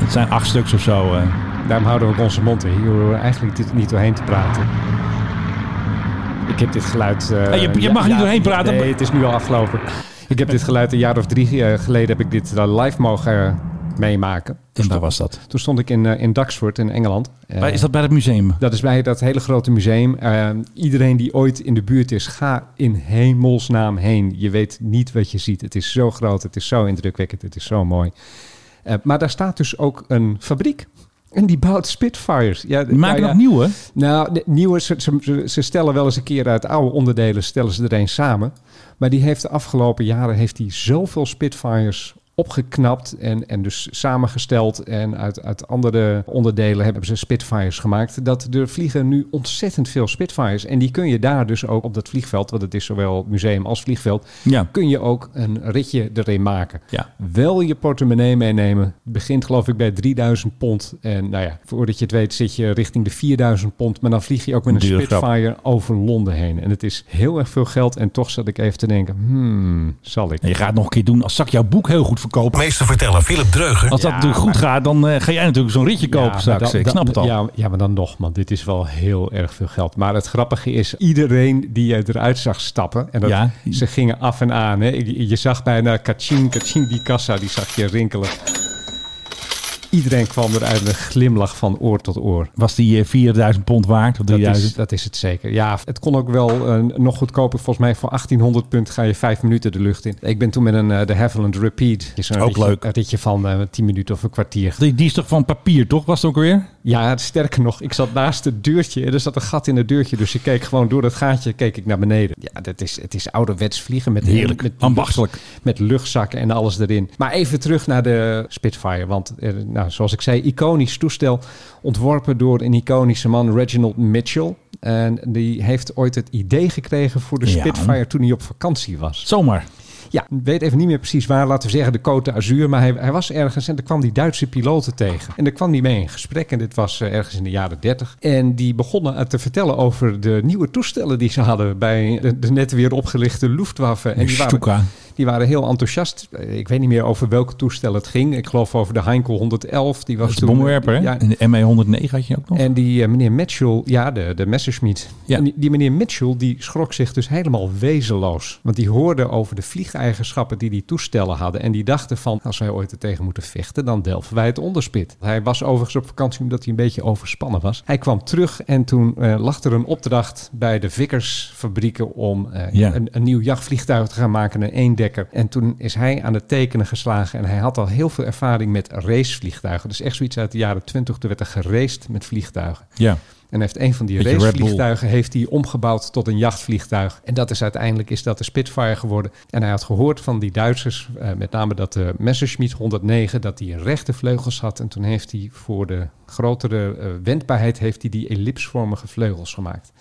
S1: Het zijn acht stuks of zo.
S2: Dus
S1: eh.
S2: Daarom houden we ook onze mond in. Hier hoeven we eigenlijk dit niet doorheen te praten. Ik heb dit geluid... eh,
S1: Hey, Ah, je- je mag er niet doorheen praten.
S2: Nee, het is nu al afgelopen. Ik heb dit geluid een jaar of drie eh, geleden heb ik dit eh, live mogen eh, meemaken.
S1: En waar was dat?
S2: Toen stond ik in, eh, in Duxford in Engeland. Eh,
S1: Waar- is dat bij het museum?
S2: Dat is bij dat hele grote museum. Eh, iedereen die ooit in de buurt is, ga in hemelsnaam heen. Je weet niet wat je ziet. Het is zo groot, het is zo indrukwekkend, het is zo mooi. Eh, maar daar staat dus ook een fabriek. En die bouwt Spitfires. Ja,
S1: Die maken
S2: nou,
S1: nog nieuwe.
S2: Nou, de nieuwe, ze, ze- ze- ze stellen wel eens een keer uit oude onderdelen, stellen ze er een samen. Maar die heeft de afgelopen jaren heeft die zoveel Spitfires opgeknapt en, en dus samengesteld. En uit, uit andere onderdelen hebben ze Spitfires gemaakt. Dat er vliegen nu ontzettend veel Spitfires. En die kun je daar dus ook op dat vliegveld, want het is zowel museum als vliegveld,
S1: Ja.
S2: kun je ook een ritje erin maken.
S1: Ja.
S2: Wel je portemonnee meenemen. Het begint geloof ik bij 3000 pond. En nou ja, voordat je het weet zit je richting de 4000 pond. Maar dan vlieg je ook met een
S1: Dure grap.
S2: Spitfire over Londen heen. En het is heel erg veel geld. En toch zat ik even te denken, hmm, zal ik?
S1: En je gaat het nog een keer doen. Als zak jouw boek heel goed verkopen.
S4: Meester vertellen Philip Dreugen.
S1: Als dat natuurlijk goed gaat, dan eh, ga jij natuurlijk zo'n ritje kopen
S2: maar
S1: straks.
S2: dan-
S1: Ik snap het al.
S2: dan- Ja, ja, maar dan nog, man. Dit is wel heel erg veel geld. Maar het grappige is, iedereen die je eruit zag stappen... en dat,
S1: Ja.
S2: ze gingen af en aan. Hè. Je, je zag bijna kaching, kaching, die kassa, die zag je rinkelen. Iedereen kwam eruit met een glimlach van oor tot oor.
S1: Was die eh, 4000 pond waard? Of
S2: Dat is,
S1: 3000?
S2: dat is het zeker. Ja, het kon ook wel eh, nog goedkoper. Volgens mij voor 1800 punt ga je vijf minuten de lucht in. Ik ben toen met een eh, de Havilland Repeat. Is een
S1: Ook
S2: ritje,
S1: leuk.
S2: Een ritje van eh, 10 minuten of een kwartier.
S1: Die, die is toch van papier, toch? Was het ook weer?
S2: Ja, sterker nog, ik zat naast het deurtje en er zat een gat in het deurtje. Dus ik keek gewoon door dat gaatje keek ik naar beneden. Ja, dat is, het is ouderwets vliegen met
S1: Heerlijk,
S2: met,
S1: ambachtelijk.
S2: Met luchtzakken en alles erin. Maar even terug naar de Spitfire. Want eh, nou, zoals ik zei, iconisch toestel. Ontworpen door een iconische man, Reginald Mitchell. En die heeft ooit het idee gekregen voor de
S1: Ja.
S2: Spitfire toen hij op vakantie was.
S1: Zomaar.
S2: Ja, ik weet even niet meer precies waar. Laten we zeggen de Côte d'Azur. Maar hij, hij was ergens en daar kwam die Duitse piloten tegen. En daar kwam hij mee in gesprek. En dit was eh, ergens in de jaren 30. En die begonnen eh, te vertellen over de nieuwe toestellen die ze hadden... bij de, de net weer opgelichte Luftwaffe. En
S1: De
S2: die waren,
S1: Stuka.
S2: die waren heel enthousiast. Eh, Ik weet niet meer over welk toestel het ging. Ik geloof over de Heinkel 111. Die was
S1: Dat is de
S2: toen- eh,
S1: bommenwerper, hè?
S2: Ja,
S1: En de ME-109 had je ook nog.
S2: en die eh, meneer Mitchell, ja, de, de Messerschmitt.
S1: Ja.
S2: En die, die meneer Mitchell die schrok zich dus helemaal wezenloos. Want die hoorde over de vliegeigenschappen die die toestellen hadden. En die dachten van, als wij ooit er tegen moeten vechten, dan delven wij het onderspit. Hij was overigens op vakantie omdat hij een beetje overspannen was. Hij kwam terug en toen eh, lag er een opdracht bij de Vickersfabrieken om eh,
S1: Ja.
S2: een, een nieuw jachtvliegtuig te gaan maken, een eendekker. En toen is hij aan het tekenen geslagen en hij had al heel veel ervaring met racevliegtuigen. Dus echt zoiets uit de jaren 20, toen werd er geraced met vliegtuigen.
S1: ja.
S2: En heeft een van die
S1: Beetje Red Bull.
S2: racevliegtuigen heeft hij omgebouwd tot een jachtvliegtuig. En dat is uiteindelijk is dat de Spitfire geworden. En hij had gehoord van die Duitsers, eh, met name dat de Messerschmitt 109, dat die rechte vleugels had. En toen heeft hij voor de grotere eh, wendbaarheid heeft hij die ellipsvormige vleugels gemaakt.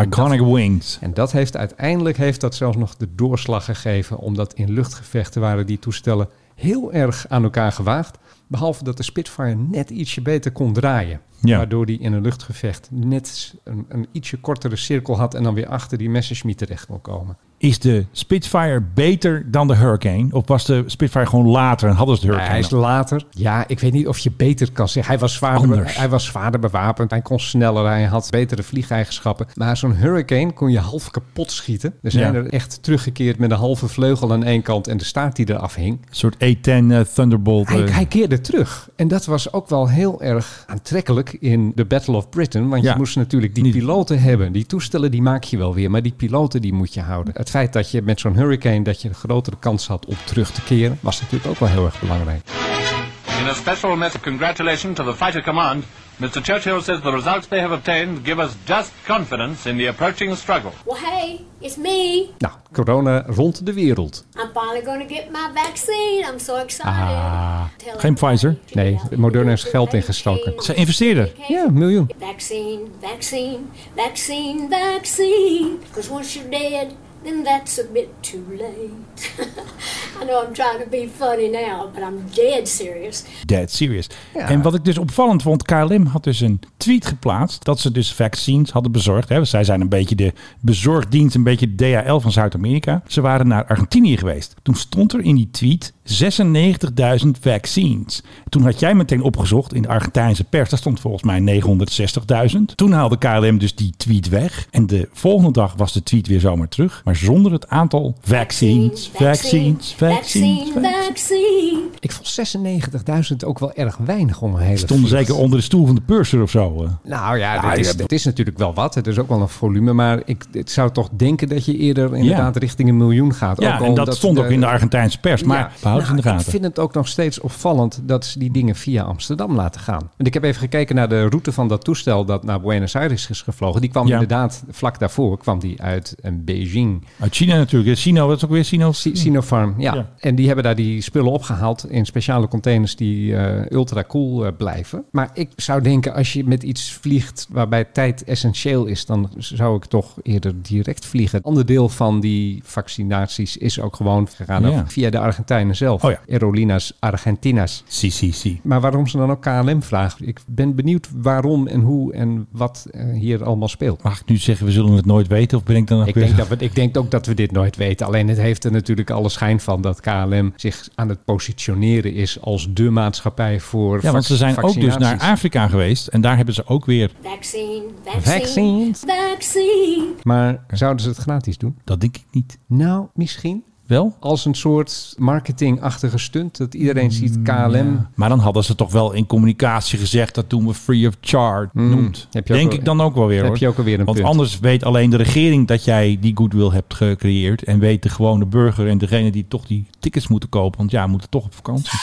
S1: Iconic Wings.
S2: En dat heeft uiteindelijk heeft dat zelfs nog de doorslag gegeven, omdat in luchtgevechten waren die toestellen heel erg aan elkaar gewaagd. Behalve dat de Spitfire net ietsje beter kon draaien.
S1: Ja.
S2: Waardoor die in een luchtgevecht net een, een ietsje kortere cirkel had en dan weer achter die Messerschmitt terecht kon komen.
S1: Is de Spitfire beter dan de Hurricane? Of was de Spitfire gewoon later en hadden ze de Hurricane?
S2: hij is
S1: al?
S2: later. Ja, ik weet niet of je beter kan zeggen. Hij was zwaarder, be-
S1: Anders.
S2: hij was zwaarder bewapend. Hij kon sneller. Hij had betere vliegeigenschappen. Maar zo'n Hurricane kon je half kapot schieten. Er zijn
S1: Ja.
S2: er echt teruggekeerd met een halve vleugel aan één kant en de staart die eraf hing.
S1: Een soort E-10 eh, Thunderbolt.
S2: Hij,
S1: eh,
S2: hij keerde terug. En dat was ook wel heel erg aantrekkelijk in de Battle of Britain. Want
S1: Ja.
S2: je moest natuurlijk die
S1: Niet-
S2: piloten hebben. Die toestellen die maak je wel weer. Maar die piloten die moet je houden. Het feit dat je met zo'n hurricane dat je een grotere kans had om terug te keren. Was natuurlijk ook wel heel erg belangrijk.
S10: In a special message of congratulation to the fighter command, Mr. Churchill says the results they have obtained give us just confidence in the approaching struggle.
S9: Well, hey, it's me.
S2: Nou, corona rond de wereld.
S9: I'm finally going to get my vaccine. I'm so excited. Tell
S1: Geen Pfizer?
S2: Ah, Nee, Moderna heeft geld ingestoken.
S1: Ze investeerden.
S2: Ja, een miljoen.
S9: Vaccine, vaccine, vaccine, vaccine. Because once you're dead, then that's a bit too late. I know I'm trying to be funny now, but I'm dead serious.
S1: Dead serious. En wat ik dus opvallend vond, KLM had dus een tweet geplaatst dat ze dus vaccins hadden bezorgd. Hè. Zij zijn een beetje de bezorgdienst, een beetje de DHL van Zuid-Amerika. Ze waren naar Argentinië geweest. Toen stond er in die tweet 96.000 vaccins. Toen had jij meteen opgezocht in de Argentijnse pers, daar stond volgens mij 960.000. Toen haalde KLM dus die tweet weg. En de volgende dag was de tweet weer zomaar terug, maar zonder het aantal vaccins, vaccins, vaccins.
S9: vaccine,
S1: vaccins.
S9: vaccine.
S2: Ik vond 96.000 ook wel erg weinig om een hele
S1: Stonden
S2: vlieg.
S1: zeker onder de stoel van de purser of zo. eh.
S2: Nou ja, dat is, dat is natuurlijk wel wat. Het is ook wel een volume. Maar ik, ik zou toch denken dat je eerder inderdaad richting een miljoen gaat.
S1: Ja,
S2: Ook
S1: en
S2: al
S1: dat, stond ook in de Argentijnse pers. Maar
S2: Ja.
S1: behoud behouden
S2: Nou,
S1: ze in de
S2: Ik
S1: gaten.
S2: vind het ook nog steeds opvallend dat ze die dingen via Amsterdam laten gaan. Want ik heb even gekeken naar de route van dat toestel dat naar Buenos Aires is gevlogen. Die kwam
S1: Ja.
S2: inderdaad vlak daarvoor kwam die uit eh, Beijing.
S1: Uit China natuurlijk. hè. Sino, dat is ook weer Sino.
S2: Si- Sinopharm, ja.
S1: Hmm. Ja.
S2: En die hebben daar die spullen opgehaald in speciale containers die eh, ultra cool eh, blijven. Maar ik zou denken, als je met iets vliegt waarbij tijd essentieel is, dan zou ik toch eerder direct vliegen. Ander deel van die vaccinaties is ook gewoon gegaan
S1: Ja.
S2: over- via de Argentijnen zelf.
S1: Oh ja.
S2: Aerolinas Argentinas.
S1: Si, si, si.
S2: Maar waarom ze dan ook KLM vragen? Ik ben benieuwd waarom en hoe en wat eh, hier allemaal speelt.
S1: Mag ik nu zeggen, we zullen het nooit weten? Of ben ik dan ook
S2: Ik
S1: weer...
S2: denk, dat we, ik denk ook dat we dit nooit weten. Alleen het heeft er natuurlijk alle schijn van dat KLM zich aan het positioneren is als de maatschappij voor
S1: ja, want ze
S2: vac-
S1: zijn ook dus naar
S2: vaccinaties.
S1: Afrika geweest. En daar hebben ze ook weer...
S9: Vaccine, vaccine,
S2: Vaccines.
S9: vaccine.
S2: Maar zouden ze het gratis doen?
S1: Dat denk ik niet.
S2: Nou, misschien.
S1: Wel?
S2: Als een soort marketingachtige stunt dat iedereen
S1: Mm,
S2: ziet KLM.
S1: Maar dan hadden ze toch wel in communicatie gezegd... dat doen we free of charge noemt.
S2: Hmm. Heb je ook
S1: Denk
S2: wel-
S1: ik dan ook wel weer,
S2: heb
S1: hoor.
S2: je ook alweer een
S1: Want
S2: punt.
S1: anders weet alleen de regering dat jij die goodwill hebt gecreëerd. En weet de gewone burger en degene die toch die tickets moeten kopen. Want ja, moeten toch op vakantie.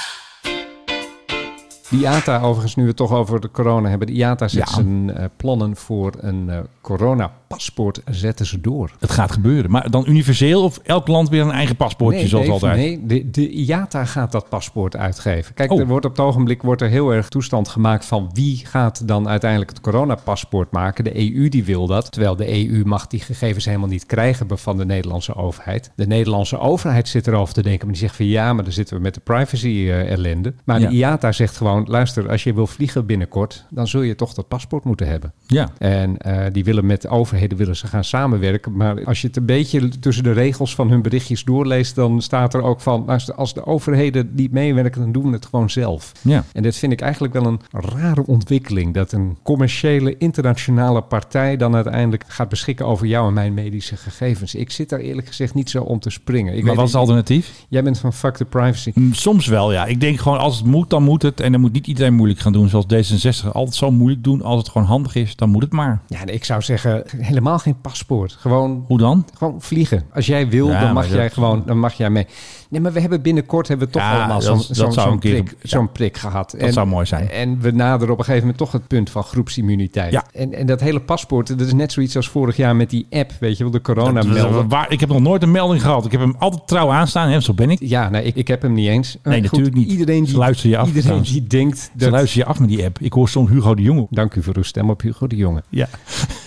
S2: De IATA, overigens, nu we het toch over de corona hebben. De IATA zet
S1: Ja.
S2: zijn eh, plannen voor een eh coronapaspoort zetten ze door.
S1: Het gaat gebeuren. Maar dan universeel of elk land weer een eigen paspoortje, zoals
S2: Dave,
S1: altijd?
S2: Nee, de, de IATA gaat dat paspoort uitgeven. Kijk,
S1: Oh.
S2: er wordt op het ogenblik wordt er heel erg toestand gemaakt van wie gaat dan uiteindelijk het coronapaspoort maken. De EU die wil dat, terwijl de EU mag die gegevens helemaal niet krijgen be- van de Nederlandse overheid. De Nederlandse overheid zit erover te denken, maar die zegt van ja, maar dan zitten we met de privacy eh, ellende. Maar
S1: Ja.
S2: de IATA zegt gewoon, luister, als je wil vliegen binnenkort, dan zul je toch dat paspoort moeten hebben.
S1: Ja.
S2: En eh, die willen met overheden willen ze gaan samenwerken. Maar als je het een beetje tussen de regels van hun berichtjes doorleest, dan staat er ook van: luister, als de overheden niet meewerken, dan doen we het gewoon zelf.
S1: Ja.
S2: En dat vind ik eigenlijk wel een rare ontwikkeling. Dat een commerciële internationale partij dan uiteindelijk gaat beschikken over jou en mijn medische gegevens. Ik zit daar eerlijk gezegd niet zo om te springen. Ik
S1: maar
S2: weet
S1: wat is het alternatief?
S2: Jij bent van fuck the privacy.
S1: Mm, Soms wel, ja. Ik denk gewoon, als het moet, dan moet het. En dan moet niet iedereen moeilijk gaan doen. Zoals D66 altijd zo moeilijk doen. Als het gewoon handig is, dan moet het maar.
S2: Ja, en ik zou zeggen, helemaal geen paspoort. Gewoon
S1: Hoe dan?
S2: Gewoon vliegen. Als jij wil,
S1: Ja,
S2: dan
S1: maar
S2: mag
S1: dat-
S2: jij gewoon, dan mag jij mee. Nee, maar we hebben binnenkort hebben we toch
S1: Ja,
S2: allemaal
S1: dat-
S2: zo'n
S1: dat
S2: zo'n-
S1: zou
S2: zo'n
S1: een keer-
S2: prik, zo'n prik gehad. Dat
S1: zou mooi zijn.
S2: En we naderen op een gegeven moment toch het punt van groepsimmuniteit.
S1: Ja.
S2: En, en dat hele paspoort, dat is net zoiets als vorig jaar met die app, weet je nou, wel, de corona melden.
S1: Waar, ik heb nog nooit een melding gehad. Ik heb hem altijd trouw aanstaan. Hè, zo ben ik.
S2: Ja, nee, ik, ik heb hem niet eens. Maar
S1: Nee, natuurlijk niet.
S2: Iedereen
S1: Ze
S2: die,
S1: luisteren je af,
S2: Iedereen
S1: trouwens.
S2: die denkt
S1: Ze
S2: dat...
S1: luister je af met die app. Ik hoor soms Hugo de Jonge.
S2: Dank u voor uw stem op Hugo de Jonge.
S1: Ja.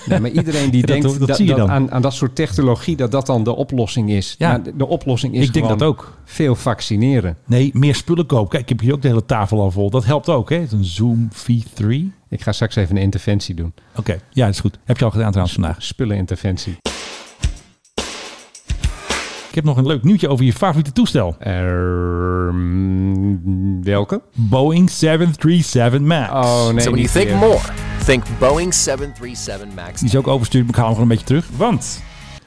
S2: Nee, maar iedereen die
S1: Ja, dat-
S2: denkt
S1: dat zie je dan.
S2: aan, aan dat soort technologie, dat dat dan de oplossing is.
S1: Ja.
S2: Maar de, de oplossing is
S1: Ik denk
S2: gewoon
S1: dat ook.
S2: veel vaccineren.
S1: Nee, meer spullen kopen. Kijk, ik heb hier ook de hele tafel al vol. Dat helpt ook, hè? Het is Een Zoom V3. Oké,
S2: Ik ga straks even een interventie doen.
S1: ja, dat is goed. Heb je al gedaan trouwens vandaag.
S2: Spulleninterventie.
S1: Ik heb nog een leuk nieuwtje over je favoriete toestel.
S2: Ehm, welke? Oh,
S1: Boeing 737 MAX.
S2: nee.
S11: so when you
S2: niet
S11: think
S2: weer.
S11: more, think Boeing 737 MAX.
S1: Die is ook overstuurd, maar ik haal hem gewoon een beetje terug. Want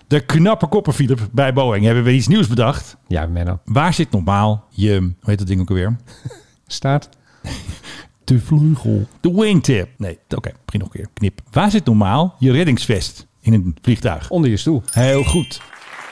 S1: de knappe koppen, Philip, bij Boeing hebben we iets nieuws bedacht.
S2: Ja, Menno.
S1: Waar zit normaal je, hoe heet dat ding ook alweer?
S2: Staat.
S1: De vleugel. De wingtip. Nee, oké, begin nog een keer. Knip. Waar zit normaal je reddingsvest in een vliegtuig?
S2: Onder je stoel.
S1: Heel goed.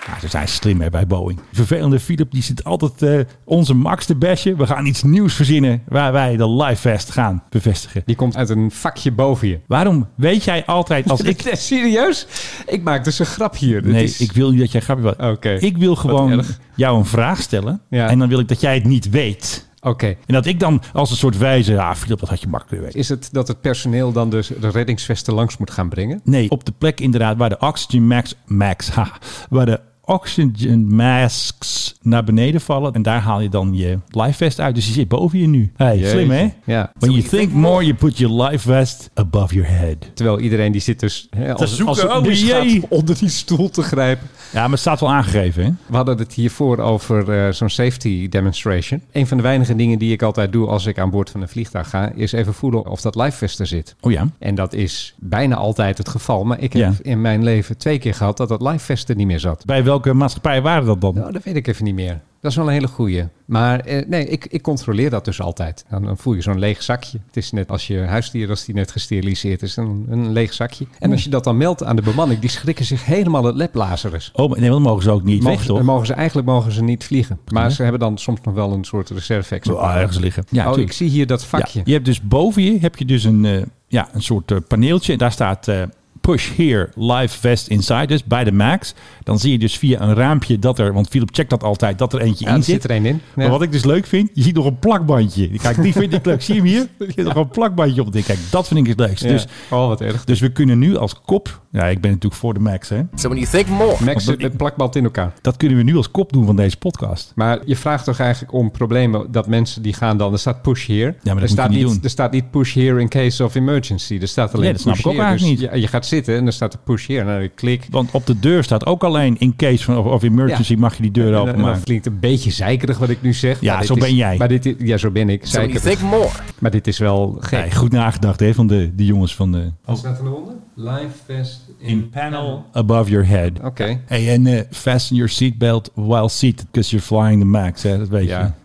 S1: Ja, ze zijn slim hè, bij Boeing. Vervelende Philip die zit altijd eh, onze Max te bashen. We gaan iets nieuws verzinnen waar wij de live vest gaan bevestigen.
S2: Die komt uit een vakje boven je.
S1: Waarom weet jij altijd als ik...
S2: Serieus? Ik maak dus een grap hier. Dit
S1: Nee,
S2: is- Oh,
S1: ik wil niet dat jij grapje maakt.
S2: Oké.
S1: Ik wil gewoon
S2: erg.
S1: jou een vraag stellen.
S2: Ja.
S1: En dan wil ik dat jij het niet weet.
S2: Oké.
S1: En dat ik dan als een soort wijze... Ah, Philip, dat had je makkelijk weten.
S2: Is het dat het personeel dan dus de reddingsvesten langs moet gaan brengen?
S1: Nee, op de plek inderdaad waar de oxygen max, max ha, waar de oxygen masks naar beneden vallen. En daar haal je dan je life vest uit. Dus die zit boven je nu. Hey,
S2: Jeetje.
S1: slim hè?
S2: Ja.
S1: When you think more, you put your life vest above your head.
S2: Terwijl iedereen die zit dus hè, als,
S1: zoeken,
S2: als het
S1: oh
S2: misgaat,
S1: jee.
S2: onder die stoel te grijpen.
S1: Ja, maar het staat wel aangegeven hè?
S2: We hadden het hiervoor over eh, zo'n safety demonstration. Een van de weinige dingen die ik altijd doe als ik aan boord van een vliegtuig ga, is even voelen of dat lifevest er zit.
S1: Oh ja.
S2: En dat is bijna altijd het geval. Maar ik heb
S1: Ja.
S2: in mijn leven twee keer gehad dat dat livevest er niet meer zat.
S1: Bij welke maatschappij waren dat dan?
S2: Nou, dat weet ik even niet meer. Dat is wel een hele goeie. Maar eh, nee, ik, ik controleer dat dus altijd. Dan, dan voel je zo'n leeg zakje. Het is net als je huisdier, als die net gesteriliseerd is, een, een leeg zakje. En als je dat dan meldt aan de bemanning, die schrikken zich helemaal het leplazerus.
S1: Oh, maar- nee, want dat mogen ze ook niet
S2: Mogen
S1: weg,
S2: ze,
S1: toch?
S2: mogen ze eigenlijk mogen ze niet vliegen. Maar ze hebben dan soms nog wel een soort reserve
S1: Zo, ah, ergens liggen. Ja,
S2: oh,
S1: tuurlijk.
S2: ik zie hier dat vakje.
S1: Ja, je hebt dus boven je heb je dus een, eh, ja, een soort eh, paneeltje. En daar staat eh, push here live vest inside. Dus bij de max. Dan zie je dus via een raampje dat er, want Philip checkt dat altijd, dat er eentje
S2: Ja,
S1: in
S2: er
S1: zit.
S2: zit er één in. Ja.
S1: Maar wat ik dus leuk vind, je ziet nog een plakbandje. Kijk, die vind ik leuk. Zie je hem hier? Er zit nog een plakbandje op. Ik denk, Kijk, dat vind ik het leukste.
S2: Ja.
S1: Dus,
S2: oh, wat erg.
S1: dus we kunnen nu als kop, ja, ik ben natuurlijk voor de max, hè.
S11: So when you think more,
S2: Max zit met plakband in elkaar.
S1: Dat kunnen we nu als kop doen van deze podcast.
S2: Maar je vraagt toch eigenlijk om problemen dat mensen die gaan dan... Er staat push here.
S1: dat moet
S2: er,
S1: je
S2: staat
S1: niet doen.
S2: er staat niet push here in case of emergency. Er staat alleen
S1: Nee, dat snap
S2: push
S1: ik ook
S2: here.
S1: eigenlijk
S2: Dus
S1: niet.
S2: Je, je gaat zitten en er staat er push here. Nou, ik klik.
S1: Want op de deur staat ook alleen in case van, of, of emergency
S2: Ja.
S1: mag je die
S2: En
S1: deur
S2: dan, en dan
S1: openmaken.
S2: klinkt een beetje zeikerig wat ik nu zeg.
S1: Ja,
S2: Maar dit
S1: zo
S2: is-
S1: ben jij.
S2: Maar dit, is- ja, zo ben ik.
S11: so when you
S2: Zeikerig.
S11: think more,
S2: Maar dit is wel gek.
S1: Nee, goed nagedacht hè, van de, de jongens van eh, de,
S2: Wat staat eronder? Live vest
S1: in panel above your head.
S2: Oké.
S1: Hey, en eh, fasten your seatbelt while seated, because you're flying the max, hè? dat weet
S2: Ja,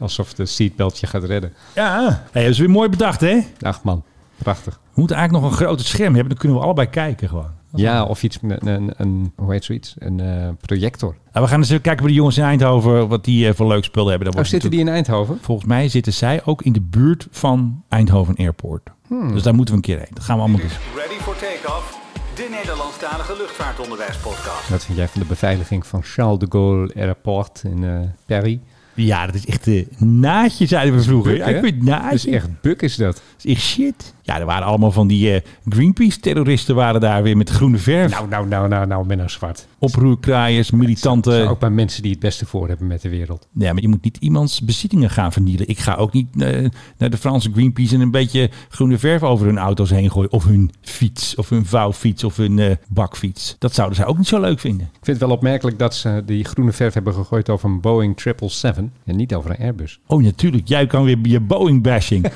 S2: alsof de seatbelt je gaat redden.
S1: je. Ja. Hey, dat is weer mooi bedacht, hè?
S2: Ach man, prachtig.
S1: We moeten eigenlijk nog een groter scherm hebben, dan kunnen we allebei kijken gewoon.
S2: Ja, of iets, een, een, een- hoe heet zoiets? Een eh, projector.
S1: Nou, we gaan eens even kijken bij de jongens in Eindhoven wat die eh, voor leuk spul hebben. Daar
S2: Oh,
S1: wordt
S2: zitten die in Eindhoven?
S1: Volgens mij zitten zij ook in de buurt van Eindhoven Airport.
S2: Hmm.
S1: Dus daar moeten we een keer heen. Dat gaan we allemaal doen.
S12: Ready for takeoff, de Nederlandstalige luchtvaartonderwijspodcast.
S2: Wat vind jij van de beveiliging van Charles de Gaulle Airport in eh Paris?
S1: Ja, dat is echt de naadje, zeiden we vroeger.
S2: Buk,
S1: Ja, ik
S2: hè?
S1: vind het naadje.
S2: Dus echt buk is dat.
S1: Dat is echt shit. Ja, er waren allemaal van die eh, Greenpeace-terroristen waren daar weer met groene verf.
S2: Nou, nou, nou, nou, nou, Menno Zwart.
S1: Oproerkraaiers, militanten.
S2: Ook bij mensen die het beste voor hebben met de wereld.
S1: Ja, maar je moet niet iemands bezittingen gaan vernielen. Ik ga ook niet eh, naar de Franse Greenpeace en een beetje groene verf over hun auto's heen gooien. Of hun fiets, of hun vouwfiets, of hun eh, bakfiets. Dat zouden zij ook niet zo leuk vinden.
S2: Ik vind het wel opmerkelijk dat ze die groene verf hebben gegooid over een Boeing 777 en niet over een Airbus.
S1: Oh, natuurlijk. Jij kan weer je Boeing-bashing.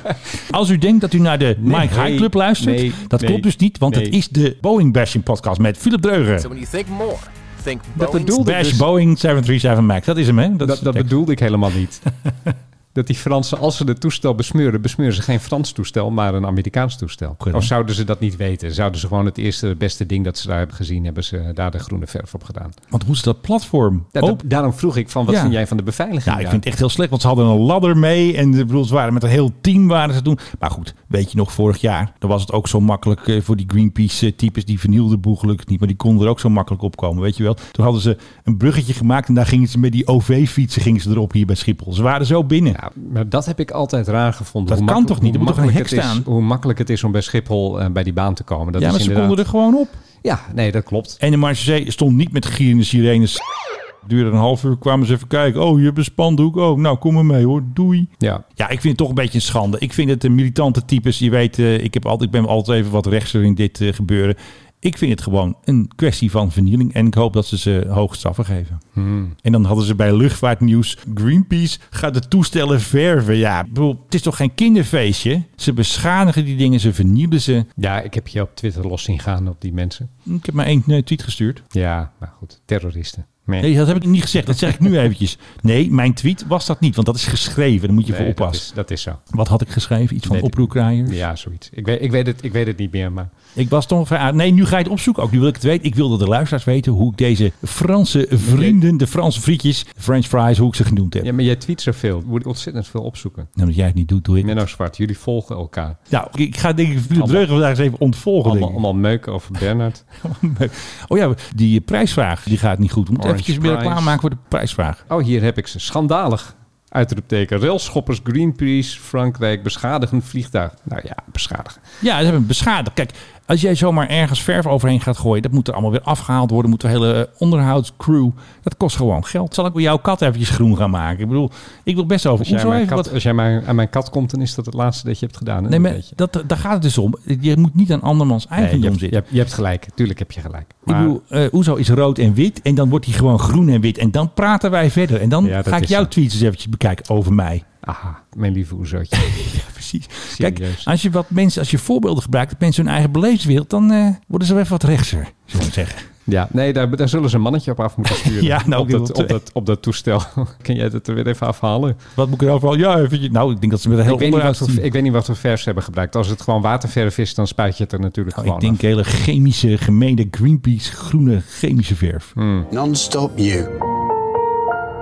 S1: Als u denkt dat u naar de
S2: Nee,
S1: Mike High Club luistert,
S2: nee,
S1: dat
S2: nee,
S1: klopt dus niet. Want
S2: nee.
S1: het is de Boeing-bashing-podcast met Philip Dreugen.
S11: So when you think more, think
S2: Dat
S11: Boeing.
S2: bedoelde
S1: Bash
S2: dus-
S1: Boeing 737 MAX. Dat is hem, hè?
S2: Dat,
S1: is
S2: dat,
S1: de tekst.
S2: bedoelde ik helemaal niet. dat die Fransen, als ze het toestel besmeuren, besmeuren ze geen Frans toestel, maar een Amerikaans toestel.
S1: Kunnen.
S2: Of zouden ze dat niet weten? Zouden ze gewoon het eerste het beste ding dat ze daar hebben gezien, hebben ze daar de groene verf op gedaan?
S1: Want hoe is dat platform?
S2: Ja,
S1: Open.
S2: dat- daarom vroeg ik van, wat
S1: Ja.
S2: vind jij van de beveiliging?
S1: Nou, ik
S2: daar?
S1: vind het echt heel slecht, want ze hadden een ladder mee. En ik bedoel, ze waren met een heel team waren ze toen. Maar goed, weet je nog, vorig jaar, dan was het ook zo makkelijk eh, voor die Greenpeace-types. Die vernielden boel gelukkig niet, maar die konden er ook zo makkelijk op komen, weet je wel. Toen hadden ze een bruggetje gemaakt en daar gingen ze met die OV-fietsen gingen ze erop hier bij Schiphol. Ze waren zo binnen.
S2: Ja, maar dat heb ik altijd raar gevonden.
S1: Dat
S2: Hoe
S1: kan
S2: makkelijk-
S1: toch niet? Er
S2: hoe
S1: moet toch een
S2: makkelijk
S1: hek
S2: het is-
S1: staan?
S2: Hoe makkelijk het is om bij Schiphol eh, bij die baan te komen. Dat
S1: ja,
S2: is
S1: maar ze
S2: inderdaad-
S1: konden er gewoon op.
S2: Ja, nee, dat klopt.
S1: En de Marseille stond niet met gierende sirenes. Duurde een half uur, kwamen ze even kijken. Oh, je hebt een spandoek. Oh, nou, kom maar mee hoor. Doei.
S2: Ja,
S1: Ja, ik vind het toch een beetje een schande. Ik vind het de militante types, je weet, eh, ik, heb altijd, ik ben altijd even wat rechtser in dit eh, gebeuren. Ik vind het gewoon een kwestie van vernieling en ik hoop dat ze ze hoge straffen geven.
S2: Hmm.
S1: En dan hadden ze bij luchtvaartnieuws Greenpeace gaat de toestellen verven. Ja, ik bedoel, het is toch geen kinderfeestje? Ze beschadigen die dingen, ze vernielen ze.
S2: ja, ik heb je op Twitter los zien gaan op die mensen.
S1: Ik heb maar één eh, tweet gestuurd.
S2: Ja, maar goed, terroristen. Nee,
S1: Nee, dat heb ik niet gezegd. Dat zeg ik nu eventjes. Nee, mijn tweet was dat niet, want dat is geschreven. Daar moet je
S2: Nee,
S1: voor
S2: dat,
S1: oppassen.
S2: is, dat is zo.
S1: Wat had ik geschreven? Iets van
S2: Weet ik niet.
S1: oproerkraaiers?
S2: Ja, zoiets. Ik weet, ik, weet het, ik weet het niet meer, maar...
S1: Ik was toch van, ah, nee, nu ga je het opzoeken ook. Nu wil ik het weten. Ik wilde de luisteraars weten hoe ik deze Franse vrienden, de Franse frietjes, French fries, hoe ik ze genoemd heb.
S2: Ja, maar jij tweet zoveel. Moet ik ontzettend veel opzoeken.
S1: Nou, dat jij het niet doet, doe ik.
S2: Menno Zwart, jullie volgen elkaar.
S1: Nou, ik ga denk ik Philip
S2: Allemaal-
S1: Dreugen vandaag eens even ontvolgen.
S2: Allemaal,
S1: denk ik.
S2: allemaal meuken over Bernard.
S1: Oh ja, die prijsvraag, die gaat niet goed. We moeten
S2: Orange
S1: eventjes weer
S2: prize.
S1: klaarmaken voor de prijsvraag.
S2: Oh, hier heb ik ze. Schandalig. Uitroepteken. Railschoppers Greenpeace Frankrijk beschadigen vliegtuig. Nou ja, beschadigen.
S1: Ja, ze hebben beschadigd. Kijk, als jij zomaar ergens verf overheen gaat gooien, dat moet er allemaal weer afgehaald worden. Moet de hele eh, onderhoudscrew. Dat kost gewoon geld. Zal ik bij jouw kat eventjes groen gaan maken? Ik bedoel, ik wil best over
S2: Als jij,
S1: Oezo
S2: mijn
S1: even wat
S2: kat, als jij mijn- aan mijn kat komt, dan is dat het laatste dat je hebt gedaan. Hè?
S1: Nee, maar
S2: Dat weet je.
S1: dat, daar gaat het dus om. Je moet niet aan andermans
S2: Nee, je,
S1: eigendom
S2: hebt, je,
S1: zitten.
S2: hebt, je hebt gelijk. Tuurlijk heb je gelijk.
S1: ik bedoel, eh Oezo is rood en wit en dan wordt hij gewoon groen en wit. En dan praten wij verder. En dan
S2: Ja, dat
S1: ga ik
S2: is
S1: jouw
S2: zo.
S1: tweets eens eventjes bekijken over mij.
S2: aha, mijn lieve oezootje.
S1: Precies. Kijk,
S2: Serieus.
S1: als je, wat mensen, als je voorbeelden gebruikt dat mensen hun eigen beleefdwereld, dan eh, worden ze wel even wat rechtser, zullen we zeggen.
S2: ja, nee, daar, daar zullen ze een mannetje op af moeten sturen.
S1: Ja, nou,
S2: op,
S1: die
S2: dat,
S1: wil
S2: op, dat, op dat toestel. Kun jij dat er weer even afhalen?
S1: Wat moet ik erover? Ja, eventjes. Nou, ik denk dat ze met een heel
S2: Ik weet, niet wat
S1: onderhoud...
S2: voor, ik weet niet wat voor vers ze hebben gebruikt. Als het gewoon waterverf is, dan spuit je het er natuurlijk
S1: Nou, ik
S2: gewoon
S1: denk hele chemische, gemene Greenpeace groene chemische verf.
S2: Hm.
S13: Non-stop you.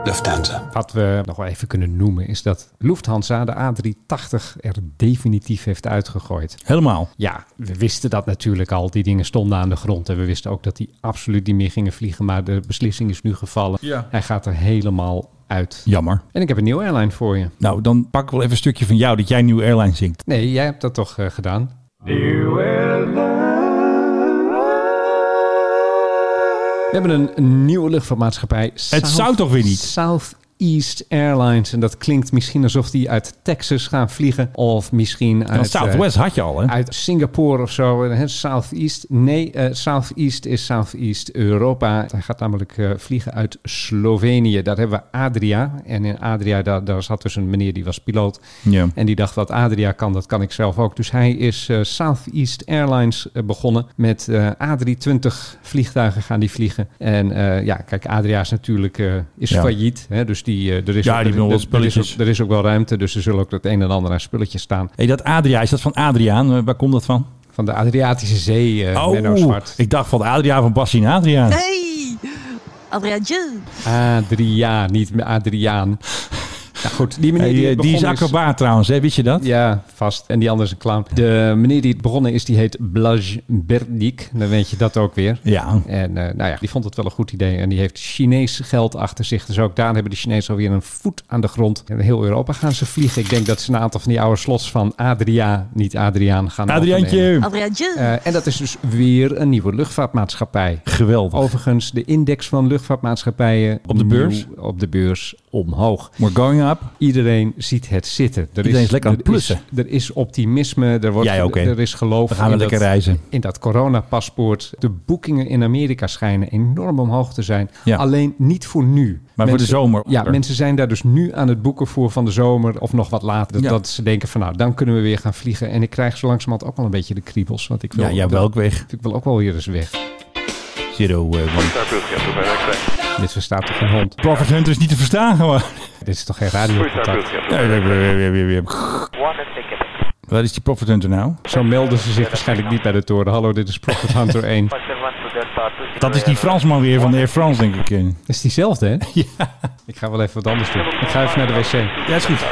S13: Lufthansa.
S2: af. Wat we nog wel even kunnen noemen is dat Lufthansa de A380 er definitief heeft uitgegooid.
S1: Helemaal.
S2: Ja, we wisten dat natuurlijk al. Die dingen stonden aan de grond. En we wisten ook dat die absoluut niet meer gingen vliegen. Maar de beslissing is nu gevallen.
S1: Ja.
S2: Hij gaat er helemaal uit.
S1: Jammer.
S2: En ik heb een nieuwe airline voor je.
S1: Nou, dan pak ik wel even een stukje van jou dat jij New Airline zingt.
S2: Nee, jij hebt dat toch eh, gedaan? We hebben een, een nieuwe luchtvaartmaatschappij. South-
S1: zou toch weer niet?
S2: Southeast Airlines. En dat klinkt misschien alsof die uit Texas gaan vliegen. Of misschien
S1: En
S2: uit... eh,
S1: Southwest had je al, hè?
S2: uit Singapore of zo, hè, Southeast. Nee, eh, Southeast is Southeast Europa. Hij gaat namelijk eh, vliegen uit Slovenië. Daar hebben we Adria. En in Adria, daar, daar zat dus een meneer die was piloot.
S1: Ja.
S2: En die dacht, wat Adria kan, dat kan ik zelf ook. Dus hij is eh, Southeast Airlines eh, begonnen. Met eh, A320 vliegtuigen gaan die vliegen. En eh, ja, kijk, Adria is natuurlijk eh, is
S1: Ja.
S2: failliet. Hè? Dus die, eh, er, is
S1: Ja,
S2: ook,
S1: die
S2: er-
S1: wil wel
S2: er- er is
S1: spulletjes.
S2: ook, er is ook wel ruimte. Dus er zullen ook het een en ander aan spulletjes staan.
S1: Hey, dat Adria, is dat van Adriaan? Eh, Waar komt dat van?
S2: Van de Adriatische Zee, eh,
S1: Oh,
S2: Menno Zwart.
S1: ik dacht van Adriaan van Bassi en Adriaan.
S14: Hey! Adriaantje.
S2: Adriaan, niet Adriaan. Nou goed, die meneer die,
S1: Hey, eh, die is
S2: begonnen
S1: acrobaat trouwens, hè? wist je dat?
S2: Ja, vast. En die andere is een clown. De meneer die het begonnen is, die heet Blaj Berdik. Dan weet je dat ook weer.
S1: Ja.
S2: En eh, nou ja, die vond het wel een goed idee. En die heeft Chinees geld achter zich. Dus ook daar hebben de Chinezen alweer een voet aan de grond. En heel Europa gaan ze vliegen. Ik denk dat ze een aantal van die oude slots van Adria, niet Adriaan, gaan
S1: Adriaantje.
S2: overnemen.
S14: Adriaantje.
S2: Eh, en dat is dus weer een nieuwe luchtvaartmaatschappij.
S1: Geweldig.
S2: Overigens, de index van luchtvaartmaatschappijen...
S1: Op de
S2: nieuw
S1: beurs?
S2: Op de beurs omhoog.
S1: We're going up.
S2: Iedereen ziet het zitten. Er
S1: Iedereen is lekker aan het
S2: er
S1: plussen.
S2: Is, er is optimisme, er, wordt,
S1: Jij ook, hè?
S2: er is geloof.
S1: We gaan
S2: in
S1: weer lekker
S2: dat-
S1: reizen.
S2: In dat coronapaspoort. De boekingen in Amerika schijnen enorm omhoog te zijn.
S1: Ja.
S2: Alleen niet voor nu.
S1: voor de zomer.
S2: Ja, mensen zijn daar dus nu aan het boeken voor van de zomer of nog wat later. Dat,
S1: Ja.
S2: dat ze denken van nou, dan kunnen we weer gaan vliegen. En ik krijg zo langzamerhand ook wel een beetje de kriebels. Want ik wil,
S1: Ja, jij wil ook weg.
S2: Ik wil ook wel weer eens weg.
S1: Zero eh, one.
S2: Dit verstaat toch geen hond?
S1: Profit Hunter is niet te verstaan gewoon.
S2: Dit is toch geen radiocontact?
S1: Nee, nee, nee, nee, nee, nee. Waar is die Profit Hunter nou?
S2: Zo melden ze zich waarschijnlijk niet bij de toren. Hallo, dit is Profit Hunter 1.
S1: Dat is die Fransman weer van de Air France, denk ik. eh.
S2: Dat is diezelfde, hè? Ja. Ik ga wel even wat anders doen. Ik ga even naar de wc.
S1: Ja, is goed.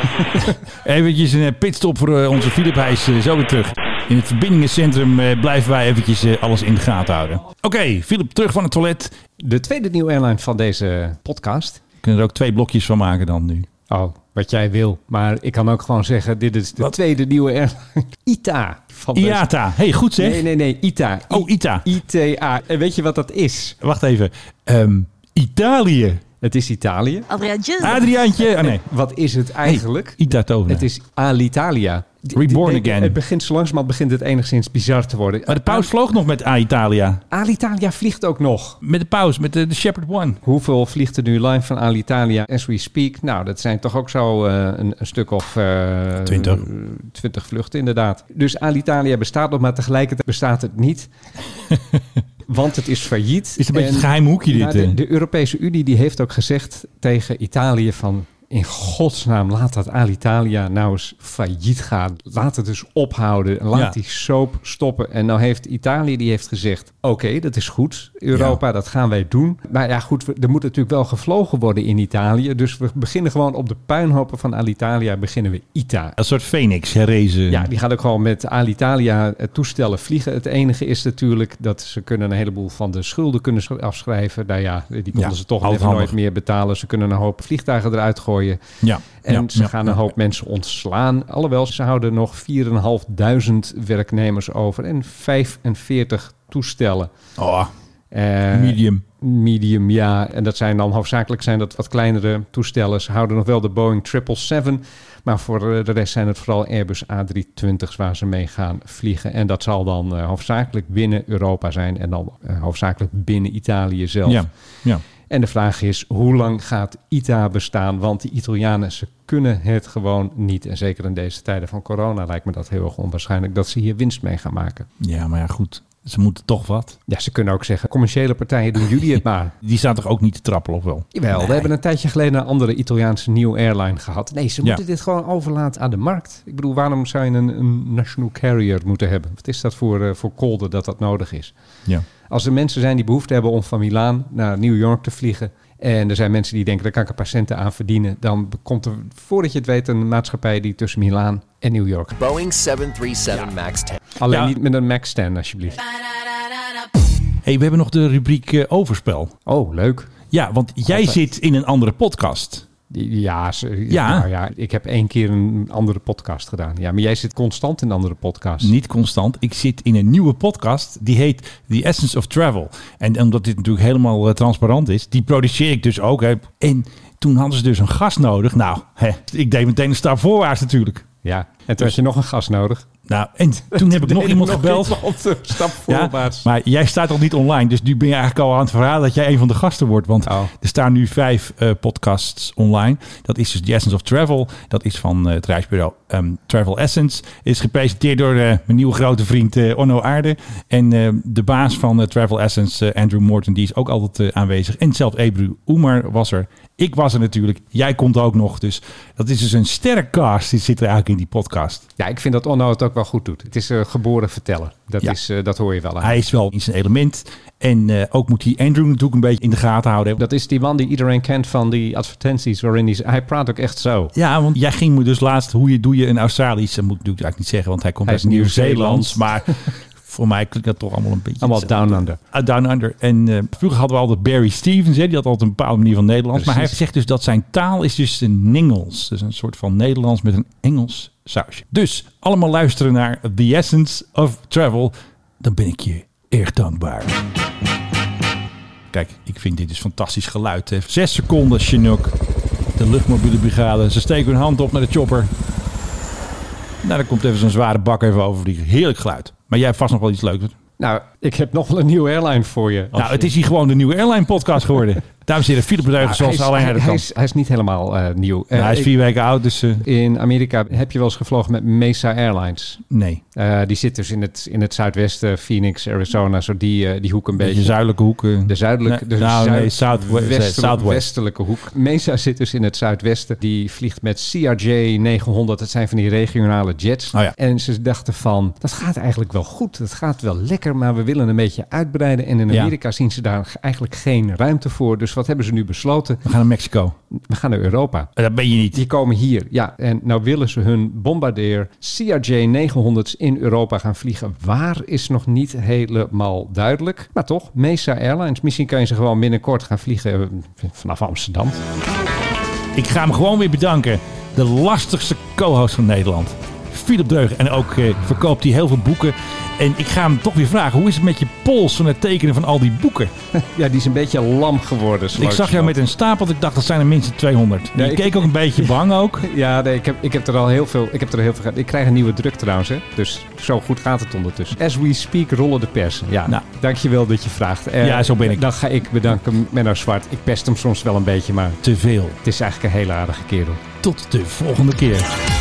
S1: eventjes een eh, pitstop voor eh, onze Philip. Hij is eh, zo weer terug. In het verbindingencentrum eh, blijven wij eventjes eh, alles in de gaten houden. Oké, Philip, terug van het toilet.
S2: De tweede nieuwe airline van deze podcast.
S1: We kunnen er ook twee blokjes van maken dan nu.
S2: Oh, wat jij wil. Maar ik kan ook gewoon zeggen, dit is de tweede nieuwe airline. ITA. Van deze-
S1: IATA. hey, goed zeg.
S2: Nee, nee, nee. ITA. I-
S1: Oh, ITA.
S2: ITA. En weet je wat dat is?
S1: Wacht even. Ehm, Italië.
S2: Het is Italië.
S14: Adriaantje.
S1: Adriaantje. Oh nee.
S2: Wat is het eigenlijk?
S1: Ita Tovenaar.
S2: Het is Alitalia. D-
S1: Reborn
S2: d- d-
S1: again.
S2: Het begint zo langzamerhand begint het enigszins bizar te worden.
S1: Maar de paus vloog nog met Alitalia.
S2: Alitalia vliegt ook nog.
S1: Met de paus, met de, de Shepherd One.
S2: Hoeveel vliegt er nu live van Alitalia as we speak? Nou, dat zijn toch ook zo eh, een, een stuk of... eh,
S1: Twintig.
S2: 20 vluchten, inderdaad. Dus Alitalia bestaat nog, maar tegelijkertijd bestaat het niet. Want het is failliet.
S1: Is een beetje
S2: En-
S1: het geheim hoekje dit, eh?
S2: Nou,
S1: hè?
S2: de, de Europese Unie die heeft ook gezegd tegen Italië van... In godsnaam, laat dat Alitalia nou eens failliet gaan. Laat het dus ophouden. Laat
S1: Ja.
S2: die soap stoppen. En nou heeft Italië die heeft gezegd... Oké, dat is goed. Europa, dat gaan wij doen. Maar ja, goed, we- er moet natuurlijk wel gevlogen worden in Italië. Dus we beginnen gewoon op de puinhopen van Alitalia... beginnen we ITA.
S1: Een soort phoenix herrezen.
S2: Ja, die gaat ook gewoon met Alitalia eh, toestellen vliegen. Het enige is natuurlijk dat ze kunnen een heleboel van de schulden kunnen sch- afschrijven. Nou ja, die konden
S1: Ja,
S2: ze toch
S1: altijd
S2: even nooit
S1: handig.
S2: meer betalen. Ze kunnen een hoop vliegtuigen eruit gooien.
S1: Ja,
S2: En
S1: ja,
S2: ze
S1: ja,
S2: gaan
S1: ja.
S2: een hoop mensen ontslaan. Alhoewel, ze houden nog 4.500 werknemers over en 45 toestellen.
S1: Oh,
S2: Eh,
S1: medium.
S2: Medium, ja. En dat zijn dan hoofdzakelijk zijn dat wat kleinere toestellen. Ze houden nog wel de Boeing 777. Maar voor eh, de rest zijn het vooral Airbus A320's waar ze mee gaan vliegen. En dat zal dan eh, hoofdzakelijk binnen Europa zijn. En dan eh, hoofdzakelijk binnen Italië zelf.
S1: Ja, ja.
S2: En de vraag is, hoe lang gaat ITA bestaan? Want die Italianen, ze kunnen het gewoon niet. En zeker in deze tijden van corona lijkt me dat heel erg onwaarschijnlijk... dat ze hier winst mee gaan maken.
S1: ja, maar ja, goed. Ze moeten toch wat.
S2: Ja, ze kunnen ook zeggen, commerciële partijen doen jullie het maar.
S1: Die staan toch ook niet te trappelen, of wel?
S2: Jawel, we hebben een tijdje geleden een andere Italiaanse nieuw airline gehad. Nee, ze
S1: Ja.
S2: moeten dit gewoon overlaten aan de markt. Ik bedoel, waarom zou je een, een national carrier moeten hebben? Wat is dat voor, eh, voor kolder dat dat nodig is?
S1: Ja.
S2: Als er mensen zijn die behoefte hebben om van Milaan naar New York te vliegen... en er zijn mensen die denken, daar kan ik een paar centen aan verdienen... dan komt er, voordat je het weet, een maatschappij die tussen Milaan en New York...
S11: Boeing 737 MAX 10.
S2: Alleen
S1: Ja.
S2: niet met een Max 10, alsjeblieft.
S1: hey, we hebben nog de rubriek eh, overspel.
S2: Oh, leuk.
S1: Ja, want jij zit in een andere podcast.
S2: Ja, ze-
S1: Ja.
S2: Nou ja, ik heb één keer een andere podcast gedaan. Ja, maar jij zit constant in andere podcasts.
S1: Niet constant. Ik zit in een nieuwe podcast. Die heet The Essence of Travel. En omdat dit natuurlijk helemaal eh, transparant is, die produceer ik dus ook. Hè. En toen hadden ze dus een gast nodig. Nou, hè, ik deed meteen een stap voorwaarts natuurlijk.
S2: Ja, en toen had je nog een gast nodig.
S1: Nou, en toen heb ik nog iemand gebeld.
S2: iemand, eh, stap
S1: Ja,
S2: voorwaarts.
S1: maar jij staat toch niet online, dus nu ben je eigenlijk al aan het verhalen dat jij een van de gasten wordt. Want
S2: Oh.
S1: er staan nu vijf eh, podcasts online. Dat is dus The Essence of Travel. Dat is van eh, het reisbureau ehm, Travel Essence. Is gepresenteerd door eh, mijn nieuwe grote vriend eh, Onno Aarde. En eh, de baas van eh, Travel Essence, eh, Andrew Morton, die is ook altijd eh, aanwezig. En zelf Ebru Oemer was er. Ik was er natuurlijk. Jij komt ook nog. Dus dat is dus een sterrencast. Die zit er eigenlijk in die podcast.
S2: Ja, ik vind dat Onno het ook wel goed doet. Het is eh, geboren vertellen. Dat,
S1: Ja.
S2: is, eh, dat hoor je wel aan.
S1: Hij is wel in zijn element. En eh, ook moet hij Andrew natuurlijk een beetje in de gaten houden.
S2: Dat is die man die iedereen kent van die advertenties waarin hij... Hij praat ook echt zo.
S1: Ja, want jij ging me dus laatst hoe je doe je een Australisch. Dat moet ik natuurlijk eigenlijk niet zeggen, want hij komt
S2: Hij
S1: uit
S2: is
S1: Nieuw-Zeeland. Maar
S2: Nieuw-Zeeland.
S1: voor mij klinkt dat toch allemaal een beetje.
S2: Allemaal
S1: hetzelfde.
S2: down under.
S1: Ah, down under. En eh, vroeger hadden we altijd Barry Stevens. Hè? Die had altijd een bepaalde manier van Nederlands. Maar hij
S2: Precies.
S1: zegt dus dat zijn taal is dus een Ningels. Dus een soort van Nederlands met een Engels sausje. Dus allemaal luisteren naar The Essence of Travel. Dan ben ik je erg dankbaar. Kijk, ik vind dit dus fantastisch geluid. Hè. Zes seconden Chinook. De luchtmobiele brigade. Ze steken hun hand op naar de chopper. Nou, dan komt even zo'n zware bak even overvliegen. Heerlijk geluid. Maar jij hebt vast nog wel iets leuks.
S2: Nou, ik heb nog wel een nieuwe airline voor je.
S1: Nou, het is hier gewoon de nieuwe airline podcast geworden. Dames en heren, Philip Bedeugen
S2: Nou,
S1: zoals
S2: hij is-
S1: alleen hij
S2: hij,
S1: dat
S2: hij
S1: kan.
S2: is, hij is niet helemaal eh, nieuw.
S1: Nou,
S2: Eh,
S1: hij is
S2: ik-
S1: vier weken oud, dus... eh,
S2: In Amerika heb je wel eens gevlogen met Mesa Airlines.
S1: Nee.
S2: Eh, die zit dus in het, in het zuidwesten, Phoenix, Arizona, zo die, eh, die hoek een beetje.
S1: beetje zuidelijke eh. hoeken.
S2: De zuidelijke,
S1: Nee,
S2: de
S1: nou, nee,
S2: zuid-
S1: Southwest-
S2: westelijk-
S1: Southwest.
S2: westelijke hoek. Mesa zit dus in het zuidwesten. Die vliegt met CRJ 900. Dat zijn van die regionale
S1: Oh
S2: jets. En ze dachten van, dat gaat eigenlijk wel goed. Dat gaat wel lekker, maar we willen een beetje uitbreiden. En in
S1: Ja.
S2: Amerika zien ze daar eigenlijk geen ruimte voor. Dus wat hebben ze nu besloten?
S1: We gaan naar Mexico.
S2: We gaan naar Europa.
S1: Dat ben je niet.
S2: Die komen hier. Ja, en nou willen ze hun bombardeer CRJ-900's in Europa gaan vliegen. Waar is nog niet helemaal duidelijk. Maar toch, Mesa Airlines. Misschien kan je ze gewoon binnenkort gaan vliegen eh, vanaf Amsterdam.
S1: Ik ga hem gewoon weer bedanken. De lastigste co-host van Nederland. Philip Deugen. En ook eh, verkoopt hij heel veel boeken. En ik ga hem toch weer vragen. Hoe is het met je pols van het tekenen van al die boeken?
S2: Ja, die is een beetje lam geworden.
S1: ik zag jou met een stapel. Ik dacht, dat zijn er minstens 200.
S2: Nee,
S1: je
S2: ik-
S1: keek ook een beetje bang ook.
S2: Ja, nee, ik, heb, ik heb er al heel veel. Ik heb er heel veel. ge- Ik krijg een nieuwe druk trouwens. Hè? Dus zo goed gaat het ondertussen. As we speak rollen de persen. Ja,
S1: Nou.
S2: dankjewel dat je vraagt. Eh,
S1: Ja, zo ben ik.
S2: Dan ga ik bedanken Menno Zwart. Ik pest hem soms wel een beetje, maar
S1: te veel.
S2: Het is eigenlijk een hele aardige kerel.
S1: Tot de volgende keer.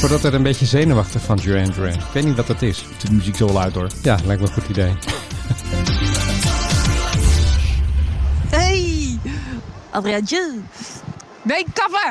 S2: Ik word altijd een beetje zenuwachtig van Duran Duran. Ik weet niet wat dat is.
S1: De muziek zo wel uit hoor.
S2: Ja, lijkt me een goed idee.
S14: Hey, Adriaatje. Nee, kappen!